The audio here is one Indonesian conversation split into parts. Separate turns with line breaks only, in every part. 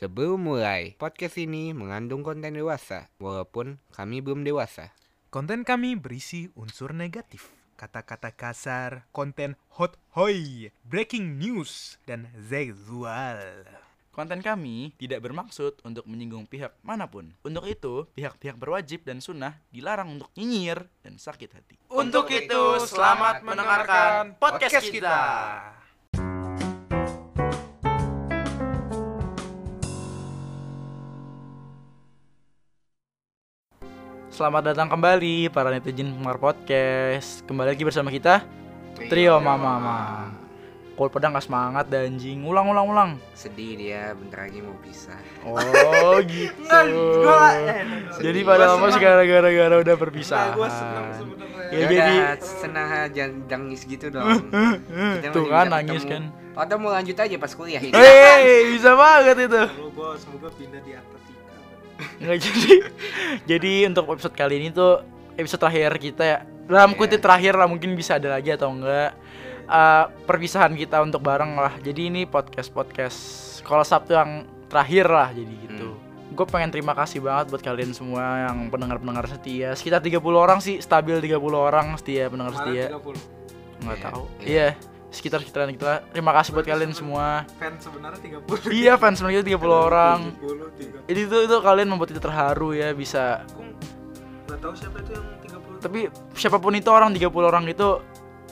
Sebelum mulai, podcast ini mengandung konten dewasa, walaupun kami belum dewasa.
Konten kami berisi unsur negatif, kata-kata kasar, konten hot hoi, breaking news, dan seksual.
Konten kami tidak bermaksud untuk menyinggung pihak manapun. Untuk itu, pihak-pihak berwajib dan sunnah dilarang untuk nyinyir dan sakit hati.
Untuk itu, selamat mendengarkan podcast kita.
Selamat datang kembali para netizen penggemar podcast. Kembali lagi bersama kita Trio Mama Mama. Kol pedang gak semangat dan anjing. Ulang ulang ulang.
Sedih dia, bentar lagi mau pisah.
Oh gitu. eh, Jadi pada lama sih gara-gara gara udah berpisah. Ya,
Ya,
jadi
udah, senang aja, jangan nangis gitu dong. Kita masih
Tuh kan, Eh!
bisa
nangis
ketemu. Atau mau lanjut aja pas kuliah ini.
Hei, bisa banget itu.
Semoga, semoga pindah di atas ikan.
Nggak jadi. Jadi untuk episode kali ini tuh episode terakhir kita ya. Dalam
Iya.
kutip terakhir lah mungkin bisa ada lagi atau enggak. Eh, perpisahan kita untuk bareng lah. Jadi ini podcast podcast sekolah Sabtu yang terakhir lah jadi gitu.
Hmm.
Gue pengen terima kasih banget buat kalian semua yang pendengar-pendengar setia. Sekitar 30 orang sih, stabil 30 orang setia pendengar setia.
Kemarin 30.
Nggak
Iya,
tahu.
iya.
Iya, sekitar-sekitaran kita. Terima kasih buat kalian semua.
Fans sebenarnya 30.
Iya, fans sebenarnya 30 orang.
70, 30.
Itu itu itu kalian membuat kita terharu ya bisa
Aku nggak tahu siapa itu yang 30.
tapi siapapun itu orang 30 orang itu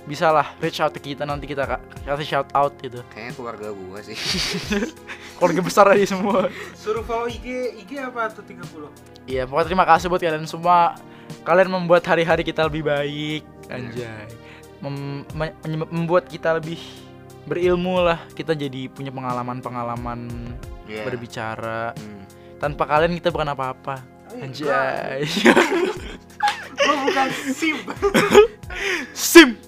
bisa lah reach out ke kita nanti kita ka- kasih shout out gitu
Kayaknya keluarga gua sih.
keluarga besar dari semua
Suruh follow IG, IG apa tuh 30?
iya pokoknya terima kasih buat kalian semua kalian membuat hari-hari kita lebih baik anjay Mem- me- menye- membuat kita lebih berilmu lah kita jadi punya pengalaman-pengalaman
Iya.
berbicara
Hmm.
tanpa kalian kita bukan apa-apa
Ayo,
anjay
Gua bukan SIM.
simp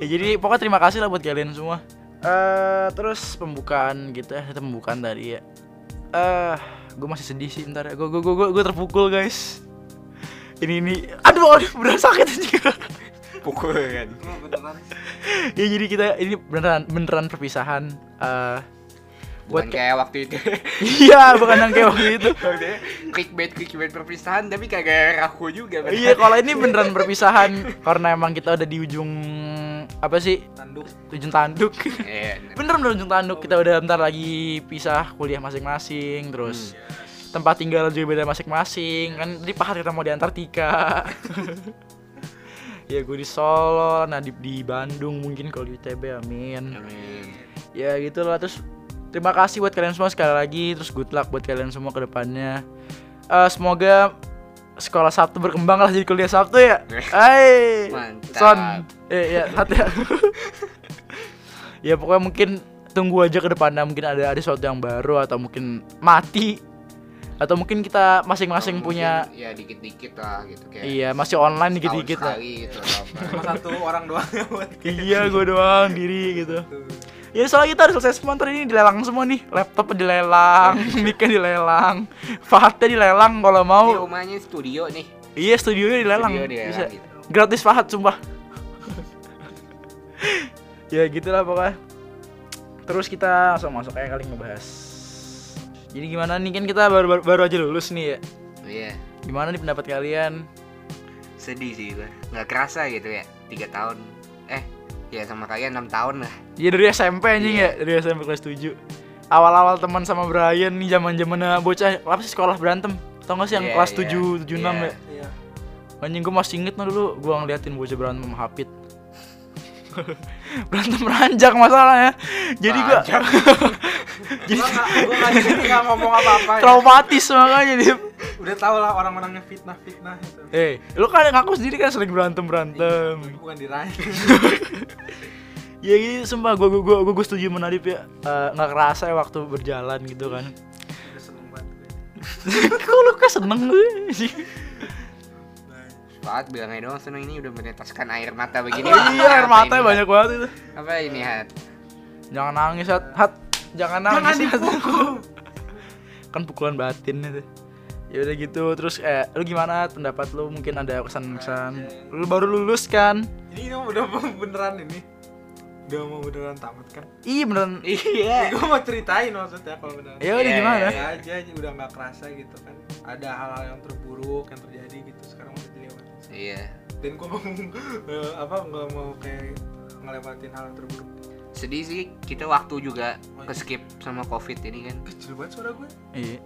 ya jadi pokoknya terima kasih lah buat kalian semua eh terus pembukaan gitu ya itu pembukaan tadi ya eh gue masih sedih sih ntar ya. gue gue gue gue terpukul guys ini ini aduh aduh beneran sakit aja
Pukul kan.
Oh, beneran sih.
ya jadi kita ini beneran beneran perpisahan eh
Bukan
Buat ke-
kayak waktu itu.
iya bukan yang kayak waktu itu
Maksudnya, clickbait clickbait perpisahan tapi kagak raku juga kan.
iya kalau ini beneran perpisahan karena emang kita udah di ujung apa sih
Tanduk.
ujung tanduk
Iya.
bener bener ujung tanduk kita udah ntar lagi pisah kuliah masing-masing terus tempat tinggal juga beda masing-masing kan tadi Pak kita mau di Antartika ya gue di Solo Nadib di Bandung mungkin kalau di ITB amin
Amin.
ya gitulah terus terima kasih buat kalian semua sekali lagi terus good luck buat kalian semua ke depannya Eh, semoga sekolah Sabtu berkembang lah jadi kuliah Sabtu ya Hai
Mantap.
Son eh ya hati ya pokoknya mungkin tunggu aja ke depannya mungkin ada ada sesuatu yang baru atau mungkin mati atau mungkin kita masing-masing
Mungkin,
punya
ya dikit-dikit lah gitu kayak.
iya masih online
setahun
dikit-dikit lah
sekali gitu atau apa.
Cuma satu orang doang yang buat
iya gue doang diri gitu
tuh.
ya soalnya kita harus selesai semua ntar ini dilelang semua nih laptop dilelang mic-nya dilelang Fahatnya dilelang kalau mau
Ini rumahnya studio nih.
iya studionya dilelang,
Iya, Studio dilelang
Oh. bisa
gitu.
gratis Fahat sumpah ya gitulah pokoknya terus kita langsung masuk aja kali ngebahas jadi gimana nih kan kita baru baru, baru aja lulus nih ya
Iya.
gimana nih pendapat kalian
Sedih sih gue. Nggak kerasa gitu ya. Tiga tahun. Eh, ya sama kalian enam tahun lah.
Ya dari SMP anjing
Iya.
ya, dari SMP kelas 7 Awal-awal teman sama Brian nih zaman zamannya bocah apa sih sekolah berantem Tau gak sih yang
Iya,
kelas
iya.
7, 76
Iya.
ya
Iya.
Anjing gue masih inget nah dulu, gue ngeliatin bocah berantem sama Hapit Berantem ranjak masalahnya Jadi gue
Jadi gua nggak gua nggak jadi nggak ngomong apa-apa. ya.
traumatis makanya Dip
Udah tau lah orang-orangnya fitnah-fitnah itu.
Eh, lu kan ngaku sendiri kan sering berantem-berantem
Iya, Bukan diraih.
Ya gitu, sumpah gue gua, gua, gua setuju sama Nadif ya Eh, Nggak kerasa ya waktu berjalan gitu kan
Udah seneng banget gue.
Kok lu keseneng gue
Nah,
Banget bilangnya doang seneng ini udah meneteskan air mata begini.
iya air
Apa
matanya
ini,
banyak banget itu
Hat? Apa ini hat?
jangan nangis hat hat jangan nangis Hat.
dipukul.
kan pukulan batin itu ya udah gitu terus eh lu gimana pendapat lu
Iya.
mungkin ada kesan kesan lu baru lulus kan
Ini ini udah beneran ini.
Udah mau beneran tamat kan?
Ih beneran.
Ya,
Iya.
gue mau ceritain maksudnya kalau beneran.
Ya udah
Iya,
gimana?
iya,
Ya aja udah nggak kerasa gitu kan. Ada hal-hal yang terburuk yang terjadi gitu sekarang udah dilewati.
Iya.
Dan gue mau eh, apa nggak mau kayak ngelewatin hal yang terburuk.
Sedih sih kita waktu juga
Oh, iya.
keskip sama covid ini kan.
Kecil Eh, banget suara gue.
Iya.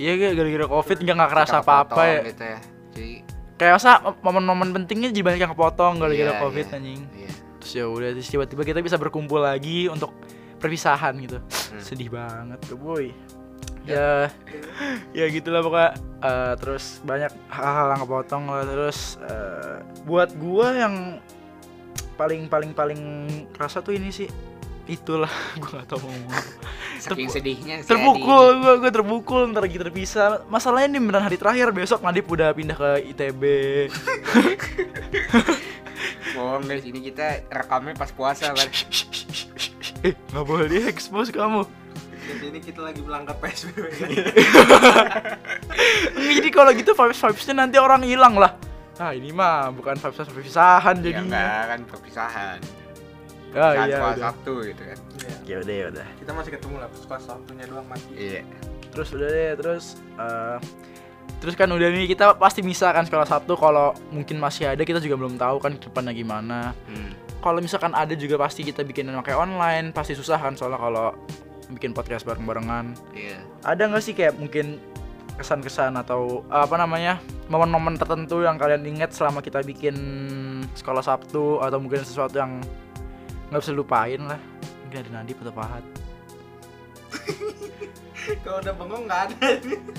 Iya gue gara-gara covid nggak nggak kerasa
Kita
apa-apa
kepotong
ya.
Gitu ya. Jadi
Kayak masa momen-momen pentingnya jadi banyak yang kepotong gara-gara
Iya,
covid
iya.
anjing.
iya.
Terus ya udah terus tiba-tiba kita bisa berkumpul lagi untuk perpisahan gitu.
Hmm.
Sedih banget tuh boy. Ya, ya gitulah pokoknya. Eh, terus banyak hal-hal yang kepotong lah terus eh, buat gua yang paling paling paling kerasa tuh ini sih itulah gua gak tau mau ngomong apa.
Saking
Terpu-
sedihnya si
terpukul
Adi.
gue gue terpukul ntar lagi terpisah masalahnya nih beneran hari terakhir besok Nadif udah pindah ke ITB
Bohong guys, ini kita rekamnya pas puasa kan.
eh nggak boleh di expose kamu
Jadi ini kita lagi melanggar PSBB.
Ya
jadi kalau gitu vibes vibesnya nanti orang hilang lah nah ini mah bukan vibes perpisahan
Jadi ya,
jadi
enggak kan perpisahan.
oh
Saat
iya
puasa
udah
Sabtu gitu kan.
Iya.
ya udah ya udah
Kita masih ketemu lah pas kelas satunya doang mati.
Iya.
terus udah deh terus eh, terus kan udah nih kita pasti bisa kan sekolah Sabtu kalau mungkin masih ada kita juga belum tahu kan ke depannya gimana
Hmm.
kalau misalkan ada juga pasti kita bikin pakai online pasti susah kan soalnya kalau bikin podcast bareng barengan
Iya.
ada nggak sih kayak mungkin kesan-kesan atau eh, apa namanya momen-momen tertentu yang kalian ingat selama kita bikin sekolah Sabtu atau mungkin sesuatu yang nggak bisa lupain lah mungkin ada Nadif atau Pahat
Eh, Kalau udah bengong nggak ada.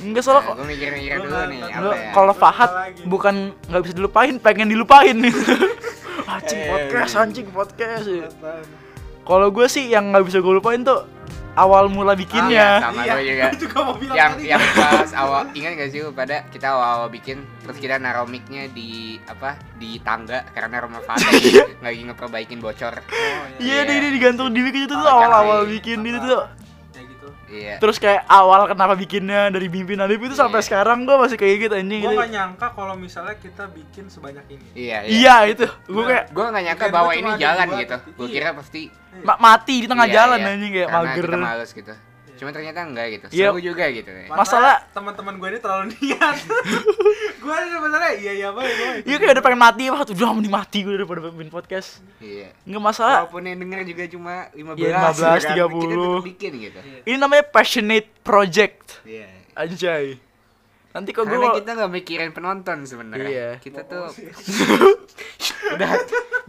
enggak soalnya
Nah,
kok-
gue mikir-mikir
Gua
dulu
nggak-
nih
nggak-
apa
lo-
ya.
kalau
Lupa
Pahat
lagi.
bukan nggak bisa dilupain pengen dilupain anjing
Eh.
podcast anjing podcast
Nggak tahu.
kalau gue sih yang nggak bisa gue lupain tuh awal mula bikinnya
Oh, iya,
Sama gua juga.
gua juga mau bilang
yang
tadi.
yang pas awal ingat gak sih lu pada kita awal, awal bikin terus kita naruh mic-nya di apa di tangga karena rumah Fatih lagi- lagi ngeperbaikin bocor
Oh, iya.
Iya.
Iya, ini ini digantung di wiki itu tuh
Awal
awal-awal
cari.
bikin
Awal.
itu tuh.
Kayak gitu.
iya
Terus kayak awal kenapa bikinnya dari Bimbing Nadif itu sampai
Iya.
sekarang gua masih kayak gitu anjing.
Gue
gitu.
gak nyangka kalau misalnya kita bikin sebanyak ini.
iya iya
Iya, itu. Gua kayak
gue gak nyangka
Pikiran
bahwa
Iya, gua
ini
cuma ada
jalan
dua
gitu
atau
gue
tiga.
kira pasti
ma- mati di tengah
iya,
jalan
iya.
anjing kayak
Karena
mager.
kita males gitu cuma ternyata enggak gitu
Iya.
seru juga gitu
Masalah,
Masalah-
teman-teman gue ini terlalu niat. gue sebenarnya iya iya banget.
Iya kayak udah pengen mati, wah tuh udah mending mati gua daripada bikin podcast.
iya
Enggak masalah.
walaupun yang denger juga cuma 15
Ah. Iya, 15,
kan,
30.
kita tetap bikin gitu
Ini namanya passionate project.
iya
Anjay. Nanti kok
karena
gua
kita nggak mikirin penonton sebenarnya
Iya.
kita tuh udah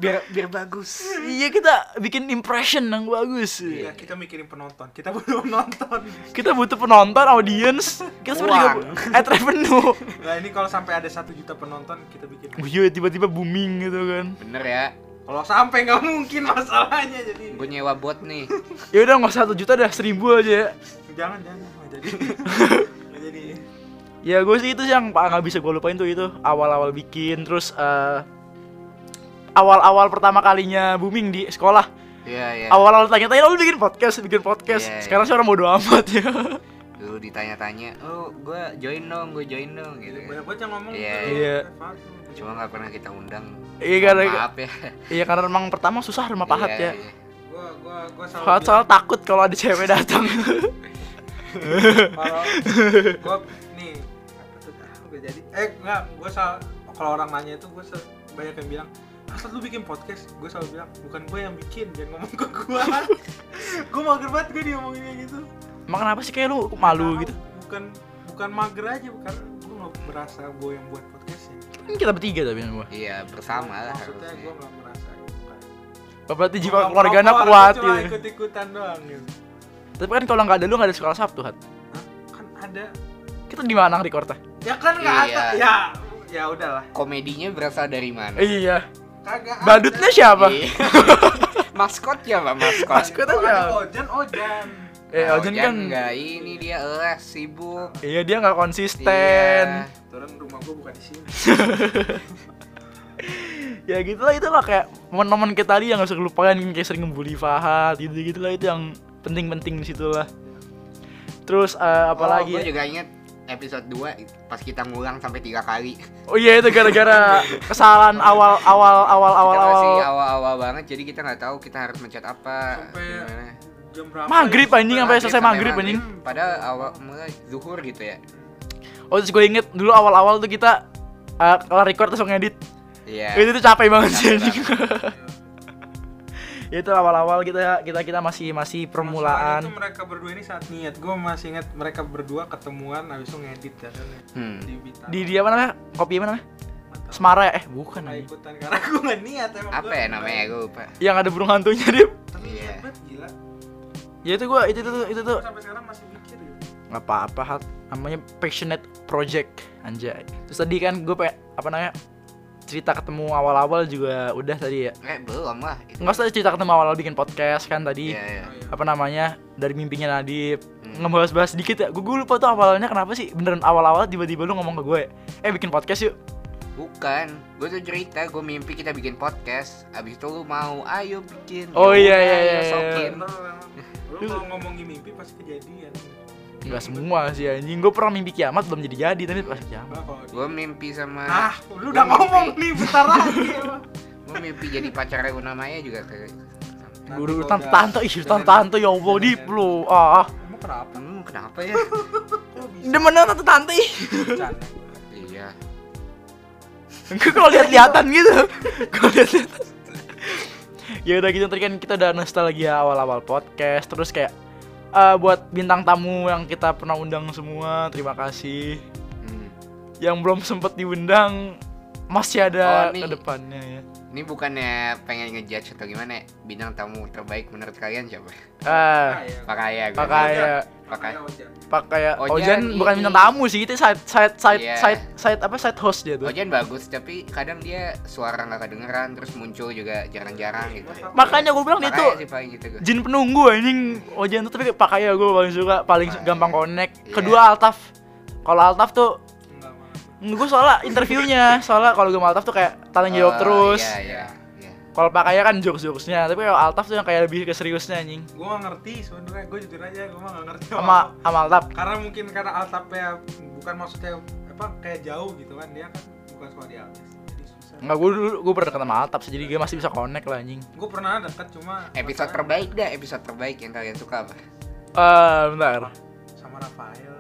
biar biar bagus
Iya kita bikin impression yang bagus.
Iya, kita mikirin penonton. Kita belum nonton.
Kita butuh penonton, audience. Kita sebenarnya juga
Uang.
ad revenue.
Nah, ini kalau sampai ada satu juta penonton, kita bikin.
Iya tiba-tiba booming gitu kan.
bener ya
Kalau sampai nggak mungkin masalahnya jadi.
gue nyewa bot nih
Ya udah nggak satu juta dah seribu aja. ya.
Jangan jangan nggak jadi. Nggak jadi.
Ya gue sih itu sih yang pa- nggak bisa gue lupain tuh itu awal-awal bikin terus eh, awal-awal pertama kalinya booming di sekolah.
iya iya
Awal-awal tanya-tanya lu bikin podcast, bikin podcast.
Iya, iya.
Sekarang sih orang bodo amat ya.
dulu ditanya-tanya oh gue join dong gue join dong gitu kan.
Banyak banget yang ngomong.
Iya,
gitu.
iya.
cuma nggak pernah kita undang
Iya karena
maaf ya
iya karena emang pertama susah rumah pahat
Iya,
ya.
iya.
Gua gua gua selalu
Pahat soal takut kalau ada cewek datang.
kalau gue nih apa tuh ah, udah jadi eh enggak gue sal kalau orang nanya itu gue banyak yang bilang asal lu bikin podcast gue selalu bilang bukan gue yang bikin jangan ngomong ke gue gue mager banget gue diomongin kayak gitu
emang kenapa sih kayak lu malu gitu?
bukan bukan mager aja bukan gue nggak merasa gue yang buat podcastnya
Kan kita bertiga tapi yang gua.
iya bersama lah
maksudnya
harusnya.
gue nggak merasa bukan.
Berarti
Gua-
jiwa keluarga
gua-
anak
gua
kuat
cuma
gitu.
ikut ikutan doang gitu
Tapi kan kalau nggak ada lu nggak ada sekolah Sabtu, Hat.
Hah? kan ada
Kita di mana recordnya?
ya kan nggak
Iya.
ada ya ya udahlah
komedinya berasal dari mana
Iya.
kagak ada.
Badutnya siapa?
Iya. maskotnya apa maskot,
Maskot. Kita
Kalau Oh, ada
siapa?
Ojan Ojan
Eh,
Nah,
Ojan kan
nggak ini dia eh sibuk
Iya dia nggak konsisten.
Iya.
Turun rumah gua bukan di sini.
Iya.
Ya gitulah itu lah kayak teman-teman kita tadi yang gak usah kelupain kayak sering ngebully Fahad gitu gitulah itu yang penting-penting di situ lah. Terus eh,
Oh,
apalagi
gua juga inget episode 2 pas kita ngulang sampai tiga kali
Oh iya itu gara-gara kesalahan awal awal awal awal
kita
awal
masih awal-awal banget jadi kita nggak tahu kita harus mencet apa
Sampai
gimana.
jam berapa
Maghrib,
ya?
anjing, sampai selesai maghrib, anjing.
padahal awal mulai zuhur gitu ya
Oh terus gue inget dulu awal-awal tuh kita eh, kalau record langsung ngedit
iya
itu tuh capek banget sih
Capek
anjing. Ya, itu awal-awal kita kita kita masih
Masalahnya
masih
tuh
permulaan
mereka berdua ini saat niat gue masih ingat mereka berdua ketemuan habis itu ngedit ya kan
Hmm.
di Bintaro.
di dia apa namanya kopi apa namanya
Mantap.
Semara ya eh bukan
Nggak
anjing.
ikutan karena gue nggak niat emang
apa
gua.
ya namanya gue lupa
yang ada burung hantunya dia
tapi
Iya.
niat banget gila
ya itu gue itu itu itu tuh
Gua sampai sekarang masih mikir gitu
nggak apa-apa Hat. namanya passionate project anjay terus tadi kan gue pengen apa namanya cerita ketemu awal-awal juga udah tadi ya
eh belum lah itu
nggak usah cerita ketemu awal-awal bikin podcast kan tadi
Iya, iya.
Oh, iya.
apa namanya dari mimpinya Nadib
Hmm.
ngebahas-bahas dikit ya gue lupa tuh awalnya kenapa sih beneran awal-awal tiba-tiba lu ngomong ke gue eh bikin podcast yuk
bukan gue tuh cerita gue mimpi kita bikin podcast abis itu lu mau ayo bikin
Oh,
Ya
iya,
udah,
iya, iya,
ayo,
iya.
sokin.
Bener, emang. lu kalau ngomongin mimpi pasti kejadian
nggak semua sih anjing gue pernah mimpi kiamat belum jadi jadi tapi pas kiamat
Nah, kalau di-
gue mimpi sama
ah lu udah ngomong iya. nih bentar lagi emang.
gue mimpi jadi pacarnya Una Maya juga ke
guru
kalau
tante
udah-
tante ih tante tante ya allah
Jangan-
dip lu ah ah.
emang kenapa
hmm, kenapa ya
kok bisa
demenan tante tante
bercanda gua?
iya
gue kalau lihat-lihatan gitu kalau lihat-lihatan ya udah gitu tadi kan kita udah nostalgia awal-awal podcast terus kayak eh, buat bintang tamu yang kita pernah undang semua terima kasih
Hmm.
yang belum sempet diundang masih
Oh,
ada
nih.
ke depannya ya
ini bukannya pengen ngejudge atau gimana ya? bintang tamu terbaik menurut kalian siapa
eh
Ah, iya.
Pakaya gue
pakai
Pakai.
Oja.
pakai
Ojan
Ojan bukan
ini.
bintang tamu sih itu side side side
Iya.
side side apa side host dia tuh
Ojan bagus tapi kadang dia suara nggak kedengeran terus muncul juga jarang-jarang gitu
makanya gue bilang dia
Makanya
tuh
sih paling gitu gue
jin penunggu anjing Ojan tuh tapi pakai gue paling suka paling
Pakai.
gampang connect
Iya.
kedua Altaf kalau Altaf tuh
Enggak, Bang.
gue soalnya interviewnya soalnya kalau gue sama Altaf tuh kayak tanya
Oh,
jawab terus
iya iya iya
kalau pakai kan jokes jokesnya tapi kalau Altaf tuh yang kayak lebih ke seriusnya anjing
Gua nggak ngerti sebenarnya gue jujur aja gue mah nggak ngerti
sama sama Altaf
karena mungkin karena altapnya bukan maksudnya apa kayak jauh gitu kan dia kan bukan sekolah di altis jadi susah
Enggak, gue dulu gue pernah ketemu sama Altaf sih, jadi gue masih bisa connect lah anjing
gue pernah deket cuma
episode
masalahnya
terbaik dah episode terbaik yang kalian suka apa
Eh, bentar.
sama Rafael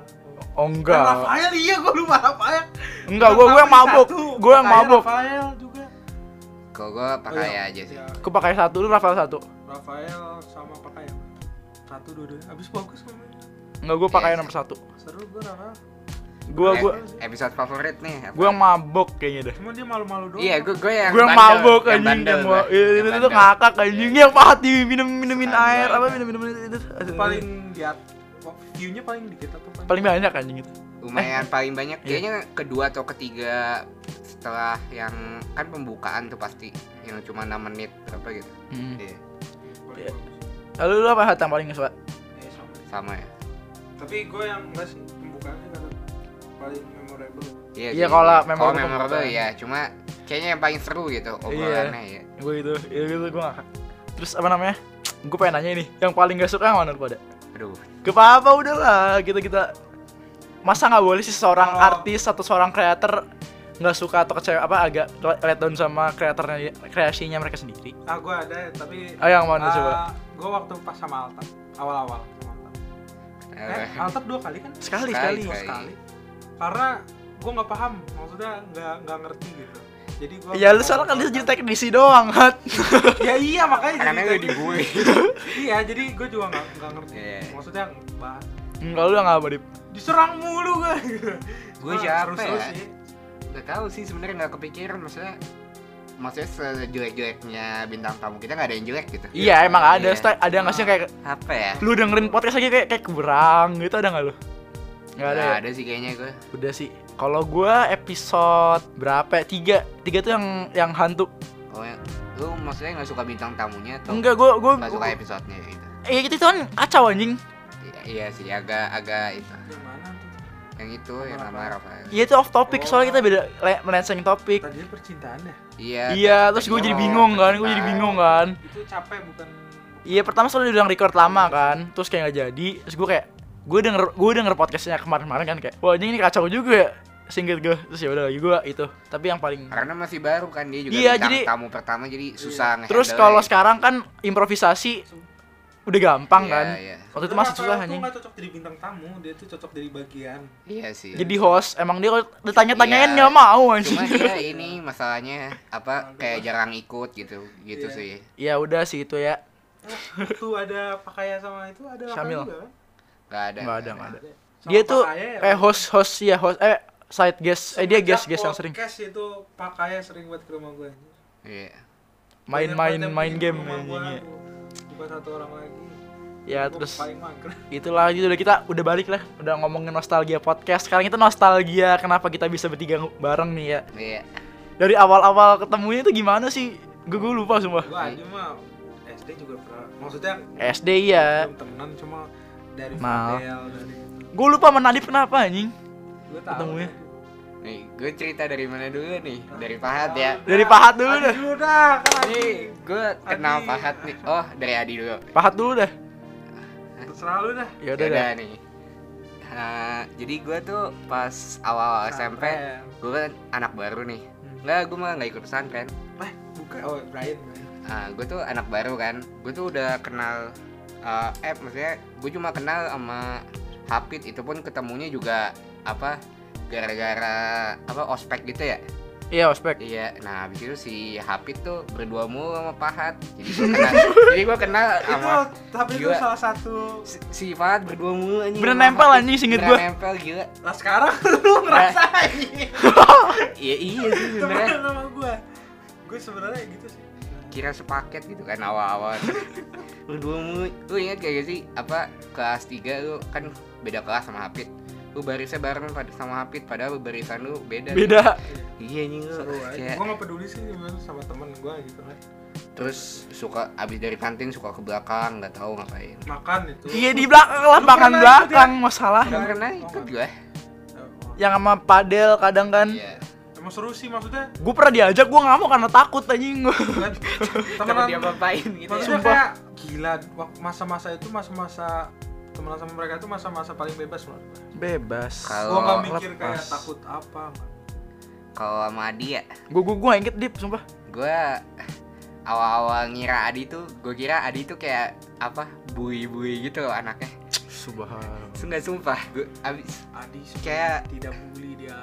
Eh,
Oh enggak.
Rafael iya gue lupa Rafael
Enggak, gue gue yang
Tapi
mabuk.
satu,
Gue yang
Rafael,
mabuk.
Rafael juga
kalau gue Pakaya
Oh, iya.
aja sih
Iya,
Gue pakai satu, lu Rafael satu.
Rafael sama pakai satu dua dua abis bagus ngomongnya
Enggak, gue pakai
Yes.
nomor satu.
seru gue Rafael
Gue
Eh,
gue
episode favorit nih apa?
gue yang mabuk kayaknya deh.
cuma dia malu-malu doang
iya gue gue yang
Gue yang
bandel,
mabuk
yang
anjing
bandel
yang
gua.
ma- itu
Yang
tuh
bandel. Eh,
ngakak anjing yang pahat di minum minumin
Suka
air
gua.
apa minum minum itu.
Itu paling di at- view-nya paling dikit atau paling,
paling banyak anjing itu.
lumayan paling banyak
Iya.
kayaknya kedua atau ketiga setelah yang kan pembukaan tuh pasti yang cuma 6 menit apa gitu
Hmm.
Iya,
paling
Iya.
bagus.
Lalu lu apa hat yang paling suka?
Iya, sama.
sama ya
tapi gue yang enggak sih pembukaannya karena paling memorable
Iya,
sih.
kalau lah
kalau
memorable
memorable
pembukaan.
ya
Iya.
cuma kayaknya yang paling seru gitu obrolannya ya
Gue itu, ya gitu gue ngakak. Terus apa namanya? Gue pengen nanya nih, yang paling gak suka yang mana lu pada?
aduh
Gak apa-apa udahlah kita kita masa nggak boleh sih seorang
Kalau-
artis atau seorang kreator nggak suka atau kecewa apa agak let let down sama kreatornya kreasinya mereka sendiri.
ah gue ada tapi
Ayo Oh, yang mana coba?
gue waktu pas sama Altap awal-awal sama Altap eh
Eh,
Altap dua kali kan
Sekali
sekali,
sekali.
sekali.
sekali karena gue nggak paham maksudnya nggak nggak ngerti gitu jadi gue
Ya lu soalnya kan dia jadi teknisi doang, Hat.
ya iya makanya
karena
jadi
gue
tadi-
dibully
iya jadi gue juga nggak nggak ngerti
Iya.
maksudnya bahas
Enggak lu nggak boleh.
diserang mulu gue
Gua siapa
seru-seru
ya?
sih.
nggak tahu sih sebenarnya nggak kepikiran maksudnya maksudnya sejelek-jeleknya bintang tamu kita nggak ada yang jelek gitu
Iya, emang ada
Iya.
sta- ada nggak sih yang kayak
apa ya
lu dengerin podcast aja kayak kayak kurang gitu ada nggak lu? Nggak
Nggak
ada. ya?
ada sih kayaknya gue
Udah sih. Kalau gua episode berapa? ya? Tiga. Tiga tuh yang yang hantu.
oh, ya. lu maksudnya nggak suka bintang tamunya atau
Enggak, gua gua
nggak suka episodenya gitu
Iya gitu itu kan kacau anjing.
I- iya sih agak agak itu
Yang mana tuh
yang itu yang sama Rafael
Iya itu off topic soalnya kita beda le- melenceng topik.
tadi percintaan ya
iya
Iya, terus gue jadi bingung
ya.
kan, gue jadi bingung kan.
itu capek bukan
Iya pertama soalnya udah record lama kan, terus kayak nggak jadi, terus gue kayak gue denger gue denger podcastnya kemarin-kemarin kan kayak wah anjing ini kacau juga ya singgit gue terus ya udah lagi gue itu tapi yang paling
Karena masih baru kan dia juga
Iya,
bintang
jadi- Iya.
tamu pertama jadi susah ngehandle-nya.
terus kalau sekarang kan improvisasi udah gampang
Iya,
kan
iya.
waktu itu masih susah anjing
nggak cocok jadi bintang tamu, dia tuh cocok dari bagian.
Iya sih.
jadi host emang dia kalau ditanya-tanyain
Iya.
nggak mau anjing
cuma dia ini masalahnya apa kayak jarang ikut gitu gitu
Iya.
sih.
ya udah sih itu ya
Tuh ada pakaian sama itu ada apa
Syamil.
juga kan?
Gak ada.
nggak ada nggak ada
Ada. Sama
dia tuh
Pakaya ya,
kayak host host ya host eh side guest eh dia
semenjak
guest guest yang sering
podcast itu pakainya sering buat ke rumah gue.
Iya.
main-main
Banyak
main
banget
game
yang bikin ke rumah
anjing,
gua,
ya.
aku. Bukan satu orang lagi.
ya
Gua
terus
paling mangkrak.
itulah gitu udah kita udah balik lah udah ngomongin nostalgia podcast sekarang itu nostalgia kenapa kita bisa bertiga ng- bareng nih ya
Iya.
dari awal-awal ketemunya itu gimana sih gue gue lupa semua
Gua aja mah SD juga pernah. Maksudnya
SD ya
belum temenan cuma dari
Mal.
hotel dari
gue lupa sama Nadif kenapa anjing
gue tahu.
Ketemunya.
Nih, gue cerita dari mana dulu nih? Dari Pahat ya.
dari Pahat dulu
Adi
dah
dulu dah, kan Adi.
Nih, gue kenal
Adi.
Pahat nih. Oh, dari Adi dulu.
Pahat dulu dah
Terserah lu dah.
ya udah dah
nih. Nah, jadi gue tuh pas awal SMP,
Pesantren.
gue kan anak baru nih. Enggak, gue mah nggak ikut pesantren.
Eh, bukan oh Brian. Brian.
Nah, gue tuh anak baru kan. Gue tuh udah kenal eh app, maksudnya gue cuma kenal sama Hapit. Itu pun ketemunya juga apa? Gara-gara apa ospek gitu ya?
iya ospek
Iya, nah abis itu si Hapit tuh berdua mulu sama Pahat. Jadi gue kenal, jadi gua kenal sama
Itu tapi itu
Gila.
salah satu
si- si Pahat berdua mulu anjing.
Bener
sama
nempel,
Hapit.
anjing, seinget
Bener
gua.
Nempel gila.
Lah Nah, sekarang lu ngerasain
Iya iya sih sebenarnya.
temenan sama gua. Gue sebenarnya gitu sih.
Kira sepaket gitu kan awal-awal. berdua mulu. Lu ingat gak sih apa kelas 3 lu kan beda kelas sama Hapit. Lu barisnya bareng pada sama Hapit padahal barisan lu beda.
beda
Iya anjing lu.
Seru aja.
Kayak-
Gue gak peduli sih gimana sama temen gua gitu kan.
terus suka abis dari kantin suka ke belakang nggak tahu ngapain.
Makan itu.
iya di belakang lapangan
pernah ikut
belakang
ya?
masalah
Udah pernah ikut gue.
Eh,
yang sama Padel kadang kan
Iya.
Emang seru sih maksudnya. Kan
gue pernah diajak gue nggak mau karena takut anjing
buat
Temen dia
Temenan
ngapain gitu ya.
Maksudnya kayak gila wak- masa-masa itu masa-masa temenan sama mereka itu masa-masa paling bebas menurut gue.
bebas
Gua nggak
Kalau
mikir kayak
lepas.
takut apa.
kalau sama Adi ya,
gue gue gue inget dip sumpah
gue awal-awal ngira Adi tuh, gue kira Adi tuh kayak apa bui-bui gitu loh anaknya.
subhanallah
Sumpah sumpah, gue abis
Adi sih
Kayak-
tidak bully dia.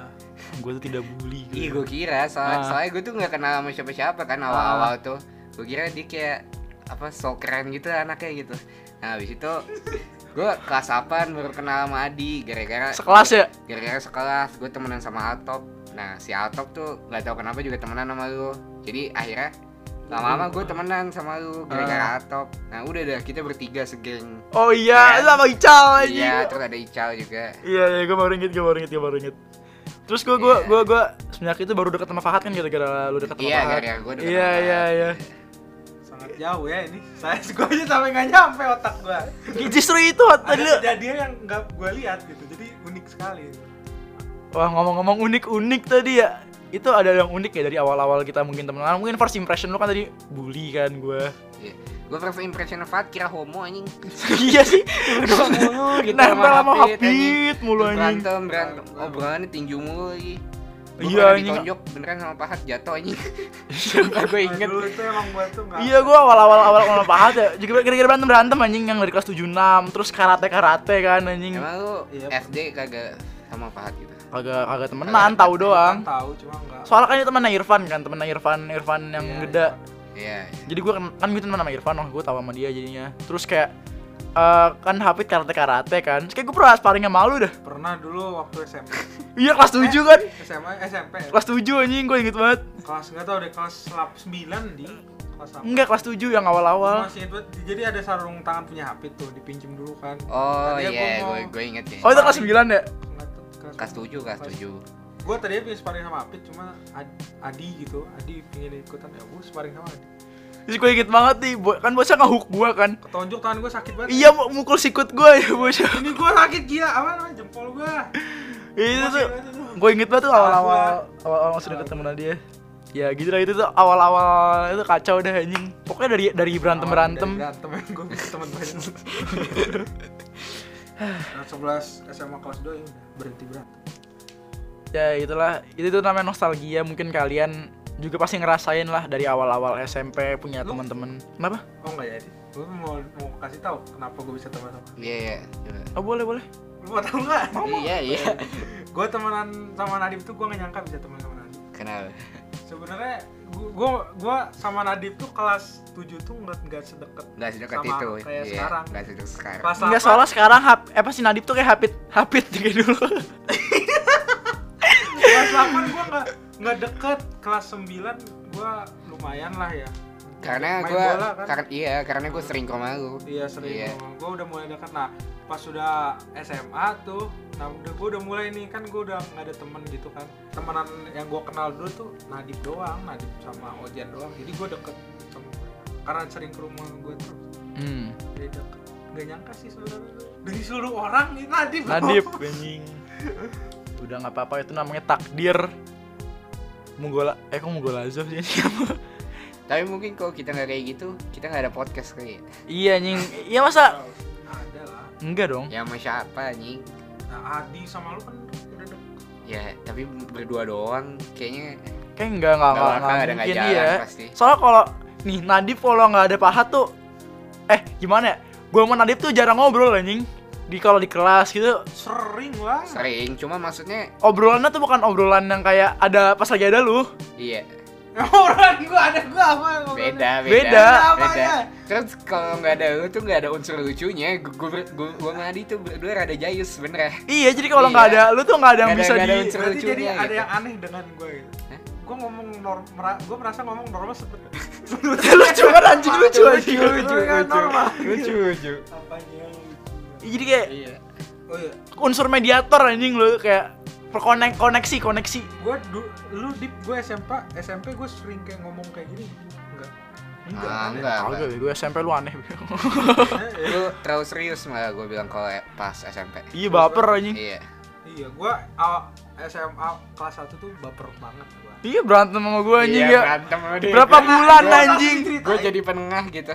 gue tuh tidak bully
iya gue kira soal,
Ah.
soalnya gue tuh nggak kenal sama siapa-siapa kan awal-awal tuh, gue kira dia kayak apa so keren gitu anaknya gitu. Nah abis itu gue kelas 8 baru kenal sama Adi gara-gara
sekelas ya
gara-gara sekelas gue temenan sama Altop nah si Altop tuh nggak tahu kenapa juga temenan sama lu jadi akhirnya lama-lama gue temenan sama lu
Ah.
gara-gara Altop nah udah dah kita bertiga segeng
oh iya
Iya.
sama Ical anjing
iya terus ada Ical juga
iya iya gue baru inget gue baru inget gue baru inget terus gue gue
Iya.
gue gue semenjak itu baru deket sama Fahad kan gara-gara lu deket sama
iya
Fahad
gara-gara gue
Iya, iya, iya.
Sangat jauh ya ini. Saya gue aja sampai nggak nyampe otak gua.
justru itu Fahad, tadi lu
Ada kejadian yang nggak gua lihat gitu. Jadi unik sekali.
wah ngomong-ngomong unik-unik tadi ya itu ada yang unik ya dari awal-awal kita mungkin temenan mungkin first impression lu kan tadi bully kan gue
gue Iya. first impression Fat kira homo anjing
iya sih
homo
nempel gitu, sama Habit mulu anjing
gitu, berantem berantem obrolannya tinju mulu lagi Gua
Iya,
pernah
anjing.
ditonjok beneran sama pahat jatuh anjing Sumpah gue
Nah,
inget
dulu itu emang gua tuh nggak.
Iya gua awal-awal awal awal pahat ya juga gara-gara berantem berantem anjing yang dari kelas 76 terus karate karate kan anjing
emang lu
Iya.
SD kagak sama pahat gitu
kagak kagak temenan tahu doang
Tahu cuma nggak.
soalnya kan itu temennya Irfan kan temennya Irfan Irfan yang
Iya,
gede
iya
jadi gua kan, kan gue temen sama Irfan wah gue tahu sama dia jadinya terus kayak eh, kan Hafid karate karate kan terus kayak gue pernah sparring sama lu dah
Pernah dulu waktu SMP.
iya
Eh?
kelas 7 kan
SMA SMP.
kelas 7 anjing gue inget banget
Kelas nggak tahu deh kelas 9 di kelas apa.
enggak kelas 7 yang
Gua
awal-awal
masih ingat banget, jadi ada sarung tangan punya HP tuh dipinjem dulu kan
Oh
Tadinya
iya,
gua
gue
mau-
gue inget ya.
oh itu kelas 9 ya
Nggak tahu,
Kelas 7, kelas 7.
gue tadi pengen sparring sama Apit cuma Ad- Adi gitu Adi pengen ikutan ya gue sparring sama Adi
terus gue inget banget nih bo- kan bocah ngehook gue kan
ketonjok tangan gue sakit banget
iya mu- mukul sikut gue ya bocah
ini gue sakit gila apa namanya jempol gue
itu tuh gue inget banget tuh awal-awal awal-awal masih deket temenan dia ya gitu lah itu tuh awal-awal itu kacau deh anjing pokoknya dari dari berantem berantem
berantem yang gue temen gue Nah, 11 SMA kelas 2 ya udah berhenti berantem.
ya itulah itu tuh namanya nostalgia mungkin kalian juga pasti ngerasain lah dari awal-awal SMP punya
Lu-
teman-teman kenapa
Oh nggak jadi. Gue mau mau kasih tahu kenapa gue bisa teman sama.
Iya, iya. coba.
oh boleh boleh
Lu mau tahu nggak?
Iya, iya.
gue temenan sama Nadif tuh gue nggak nyangka bisa temenan sama Nadif.
Kenal.
Sebenarnya gue gue sama Nadif tuh kelas 7 tuh nggak nggak sedekat
Nggak sedekat
Sama
itu. Iya,
kayak sekarang.
Nggak sedekat sekarang.
kelas 8
nggak salah sekarang hap eh pasti Nadib tuh kayak hapit hapit kayak dulu
kelas 8 gue nggak nggak deket kelas 9 gue lumayan lah ya
Karena
Main
gue,
bola kan?
karena iya, karena gue sering ke rumah lu.
Iya sering
Iya.
gue udah mulai deket nah pas sudah SMA tuh nah udah gue udah mulai nih kan gue udah nggak ada temen gitu kan temenan yang gue kenal dulu tuh Nadif doang Nadif sama Ojan doang jadi gue deket sama mereka karena sering ke rumah gue terus
hmm.
jadi deket gak nyangka sih sebenarnya dari seluruh orang nih Nadif
Nadib anjing udah nggak apa-apa itu namanya takdir Munggola eh kok Munggola aja sih
Tapi mungkin kalau kita nggak kayak gitu, kita nggak ada podcast kali. ya.
iya anjing iya masa
ada lah
enggak dong
Ya sama siapa anjing?
nah Adi sama lu kan udah deket
Ya, tapi berdua doang kayaknya
kayak enggak enggak
Nggak bakal
enggak,
ada nggak
mungkin
jalan
iya
pasti.
soalnya kalau nih Nadib kalau nggak ada pahat tuh eh gimana ya gue sama Nadib tuh jarang ngobrol anjing di kalau di kelas gitu
sering lah
sering. Cuma maksudnya,
obrolannya tuh bukan obrolan yang kayak ada pas lagi ada lu
iya
orang gue ada gue apa yang ngobrolnya?
beda, beda.
Beda.
Apanya?
Terus kalau nggak ada lu tuh nggak ada unsur lucunya. Gue gue gue sama Adi tuh berdua rada jayus ya? sebenernya.
iya jadi kalau nggak
Iya.
ada lu tuh nggak ada yang
Nggak ada-
bisa
nggak
di
ada unsur
berarti jadi
lucunya
ada
gitu.
yang aneh dengan gue gitu
Hah?
gue ngomong norm, gue merasa ngomong normal seperti
lucu kan anjing lucu anjing Iya,
Lucu, lucu.
lucu, lucu.
apanya yang lucu?
jadi kayak
Iya.
oh iya
unsur mediator anjing lu kayak perkonek koneksi koneksi
gue lu dip gue SMP SMP gue sering kayak ngomong kayak gini enggak
Ah, enggak.
Kagak,
enggak.
gue SMP lu aneh
Eh, eh.
Lu terlalu serius malah gue bilang kalau pas SMP.
iya baper anjing
Iya.
iya gue awal SMA kelas 1 tuh baper banget gue
iya berantem sama gue anjing ya
Iya, berantem sama dia.
berapa bulan anjing
Gue jadi penengah gitu.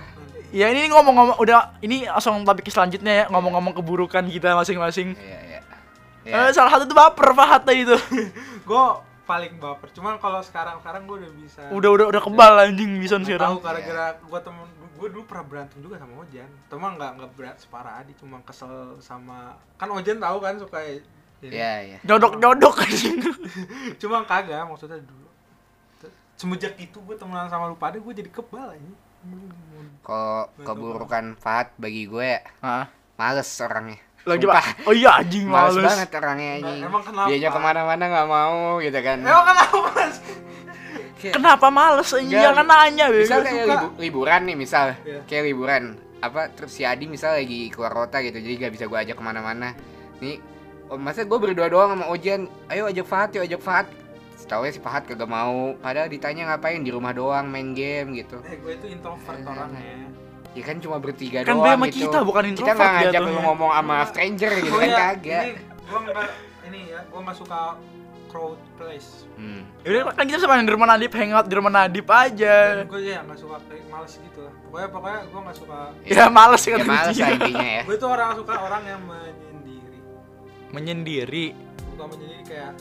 ya ini ngomong-ngomong udah ini langsung topik selanjutnya ya ngomong-ngomong keburukan kita masing-masing
Iya, iya. Iya.
Eh, salah satu tuh baper Fahad tadi tuh
gue paling baper cuman kalau sekarang sekarang gue udah bisa
Iya.
udah udah udah kebal anjing bisa
Nggak
sekarang
tahu gara-gara gue temen gue dulu pernah berantem juga sama Ojan cuma nggak nggak berat separah Adi cuma kesel sama kan Ojan tahu kan suka ini.
Iya, iya.
jodok jodok anjing
cuma kagak maksudnya dulu semenjak itu gue temenan sama lu pada gue jadi kebal aja
Hmm. Kalau keburukan Fat bagi gue
Hah?
males orangnya.
lagi
Sumpah,
pak oh iya anjing
Males
males
banget orangnya anjing.
Emang kenapa?
Dianya kemana-mana nggak mau gitu kan.
emang kenapa mas
kenapa males anjing
Enggak.
jangan nanya bego.
misal kayak
Iya, suka.
libu- liburan nih misal
Iya.
kayak liburan apa terus si Adi misal lagi keluar kota gitu jadi gak bisa gue ajak kemana-mana nih oh, masa gue berdua doang sama Ojan ayo ajak Fahad yuk ajak Fahad setahu si Fahad kagak mau padahal ditanya ngapain di rumah doang main game gitu
eh gue itu introvert
Iya.
orangnya
ya kan cuma bertiga
Kan dia
doang
sama
gitu
kita, bukan
kita nggak
introvert
ngajak lu
jatuhnya.
ngomong sama stranger gitu kan
Pokoknya
kagak
Oh, iya. ini gue nggak ini ya gue nggak suka crowd place
hmm.
Yaudah kan kita bisa main di rumah Nadib, hangout di rumah Nadib aja.
dan gue ya nggak suka kayak males gitu lah pokoknya pokoknya gue nggak suka
Ya males kan
ya males lah intinya ya
gue tuh orang suka orang yang menyendiri
Menyendiri.
bukan menyendiri kayak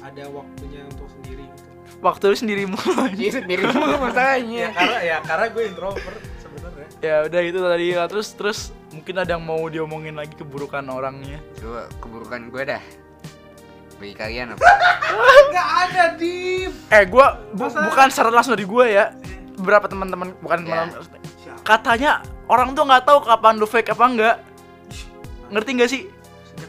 ada waktunya untuk sendiri gitu
Waktu lu sendiri mulu.
jadi sendiri mulu
Iya.
ya
masalahnya
karena ya karena gue introvert sebenarnya
ya udah itu tadi lah. Terus terus mungkin ada yang mau diomongin lagi keburukan orangnya.
coba keburukan gue dah bagi kalian apa
nggak ada di
Eh gua bu-
Masa-
bukan secara langsung dari gua ya. Beberapa teman-teman
Ya.
bukan teman katanya orang tuh nggak tahu kapan lu fake apa enggak. Ngerti nggak sih?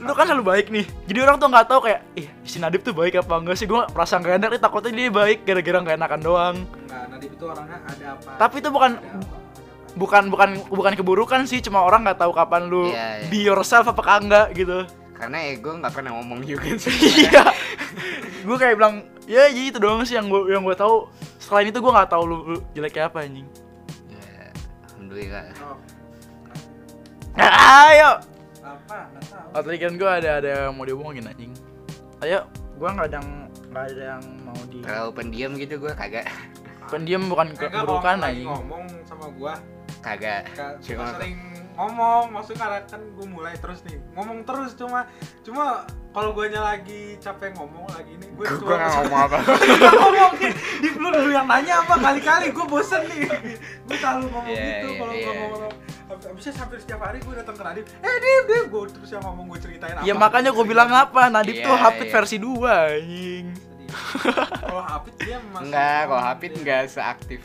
Lu kan selalu baik nih. Jadi orang tuh nggak tahu kayak ih si Nadib tuh baik apa enggak sih? Gua perasaan gak enak nih takutnya dia baik gara-gara gak enakan doang.
nggak Nadif nah, itu orangnya ada apa
Tapi itu bukan
ada apa, ada apa.
bukan bukan bukan keburukan sih cuma orang nggak tahu kapan lu
Iya, iya.
be yourself apa enggak gitu
karena ya gue nggak pernah ngomong juga sih
iya gue kayak bilang ya jadi itu doang sih yang gue yang gue tahu selain itu gue nggak tahu lu, lu jeleknya apa anjing
Ya, alhamdulillah
Oh,
nah, ayo
apa nggak tahu
oh, tadi kan gue ada ada yang mau diomongin anjing ayo gue nggak ada yang nggak ada yang mau di
terlalu pendiam gitu gue kagak
pendiam bukan
Kagak Eh, kalau
keburukan
lagi
anjing
ngomong sama gue
kagak
suka
Cuma-
sering ngomong maksudnya karena kan gue mulai terus nih ngomong terus cuma cuma kalau guanya lagi capek ngomong lagi ini gue
Gue
cuma
nggak ngomong apa.
ngomong di lu dulu yang nanya apa kali-kali gue bosen nih gue selalu ngomong
Iya,
gitu
iya,
kalau
iya.
ngomong ngomong abisnya hampir setiap hari gue datang ke Radif eh Dif Dif gue terus yang ngomong gue ceritain
Ya makanya gue bilang apa, Nadif
Iya,
tuh Hapit
iya.
versi 2 anjing.
Sedih. kalau Hapit dia memang
Enggak, kalau Hapit nggak seaktif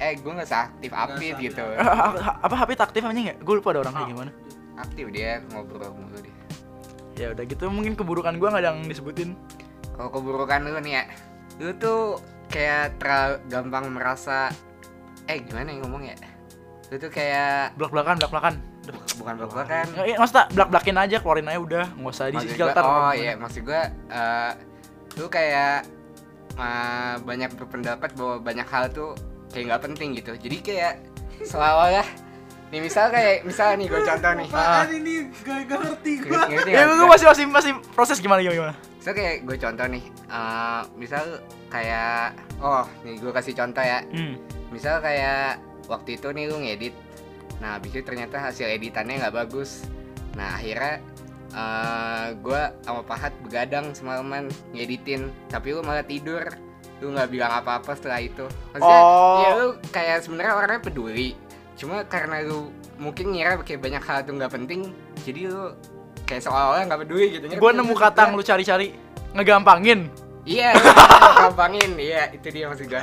eh gue nggak seaktif Hapit
seaktif.
gitu
Eh, apa Hapit aktif anjing ya? Gue lupa ada orang
Oh.
kayak gimana.
aktif dia ngobrol mulu dia
Ya udah gitu mungkin keburukan gue nggak ada yang disebutin.
kalau keburukan lu nih ya lu tuh kayak terlalu gampang merasa eh gimana yang ngomong ya lu tuh kayak
Belak-belakan, belak-belakan.
bukan bakal kan
Nggak, Iya, maksudnya belak-belakin aja, keluarin aja udah, nggak usah di
Maksud gua-
filter.
oh iya maksud gue lu kayak eh, banyak berpendapat bahwa banyak hal tuh kayak nggak penting gitu jadi kayak seolah-olah nih misal kayak misal nih gue contoh nih
apaan kan ini gak, gak ngerti gue
Ngerti
Ya
nggak?
gue masih masih masih proses gimana gimana. gimana.
So kayak gue contoh nih, eh, misal kayak, oh nih gue kasih contoh ya,
Hmm.
misal kayak waktu itu nih lu ngedit, nah abis itu ternyata hasil editannya nggak bagus, nah akhirnya gue sama Pahat begadang semalaman ngeditin, tapi lu malah tidur, lu nggak bilang apa-apa setelah itu, maksudnya
Oh.
ya lu kayak sebenarnya orangnya peduli, cuma karena lu mungkin ngira kayak banyak hal tuh nggak penting, jadi lu kayak seolah-olah nggak peduli gitu. ngerti
Gue
nggak
nemu
sih?
kata yang lu cari-cari ngegampangin.
Iya, lu gampangin. Iya, itu dia maksud gua.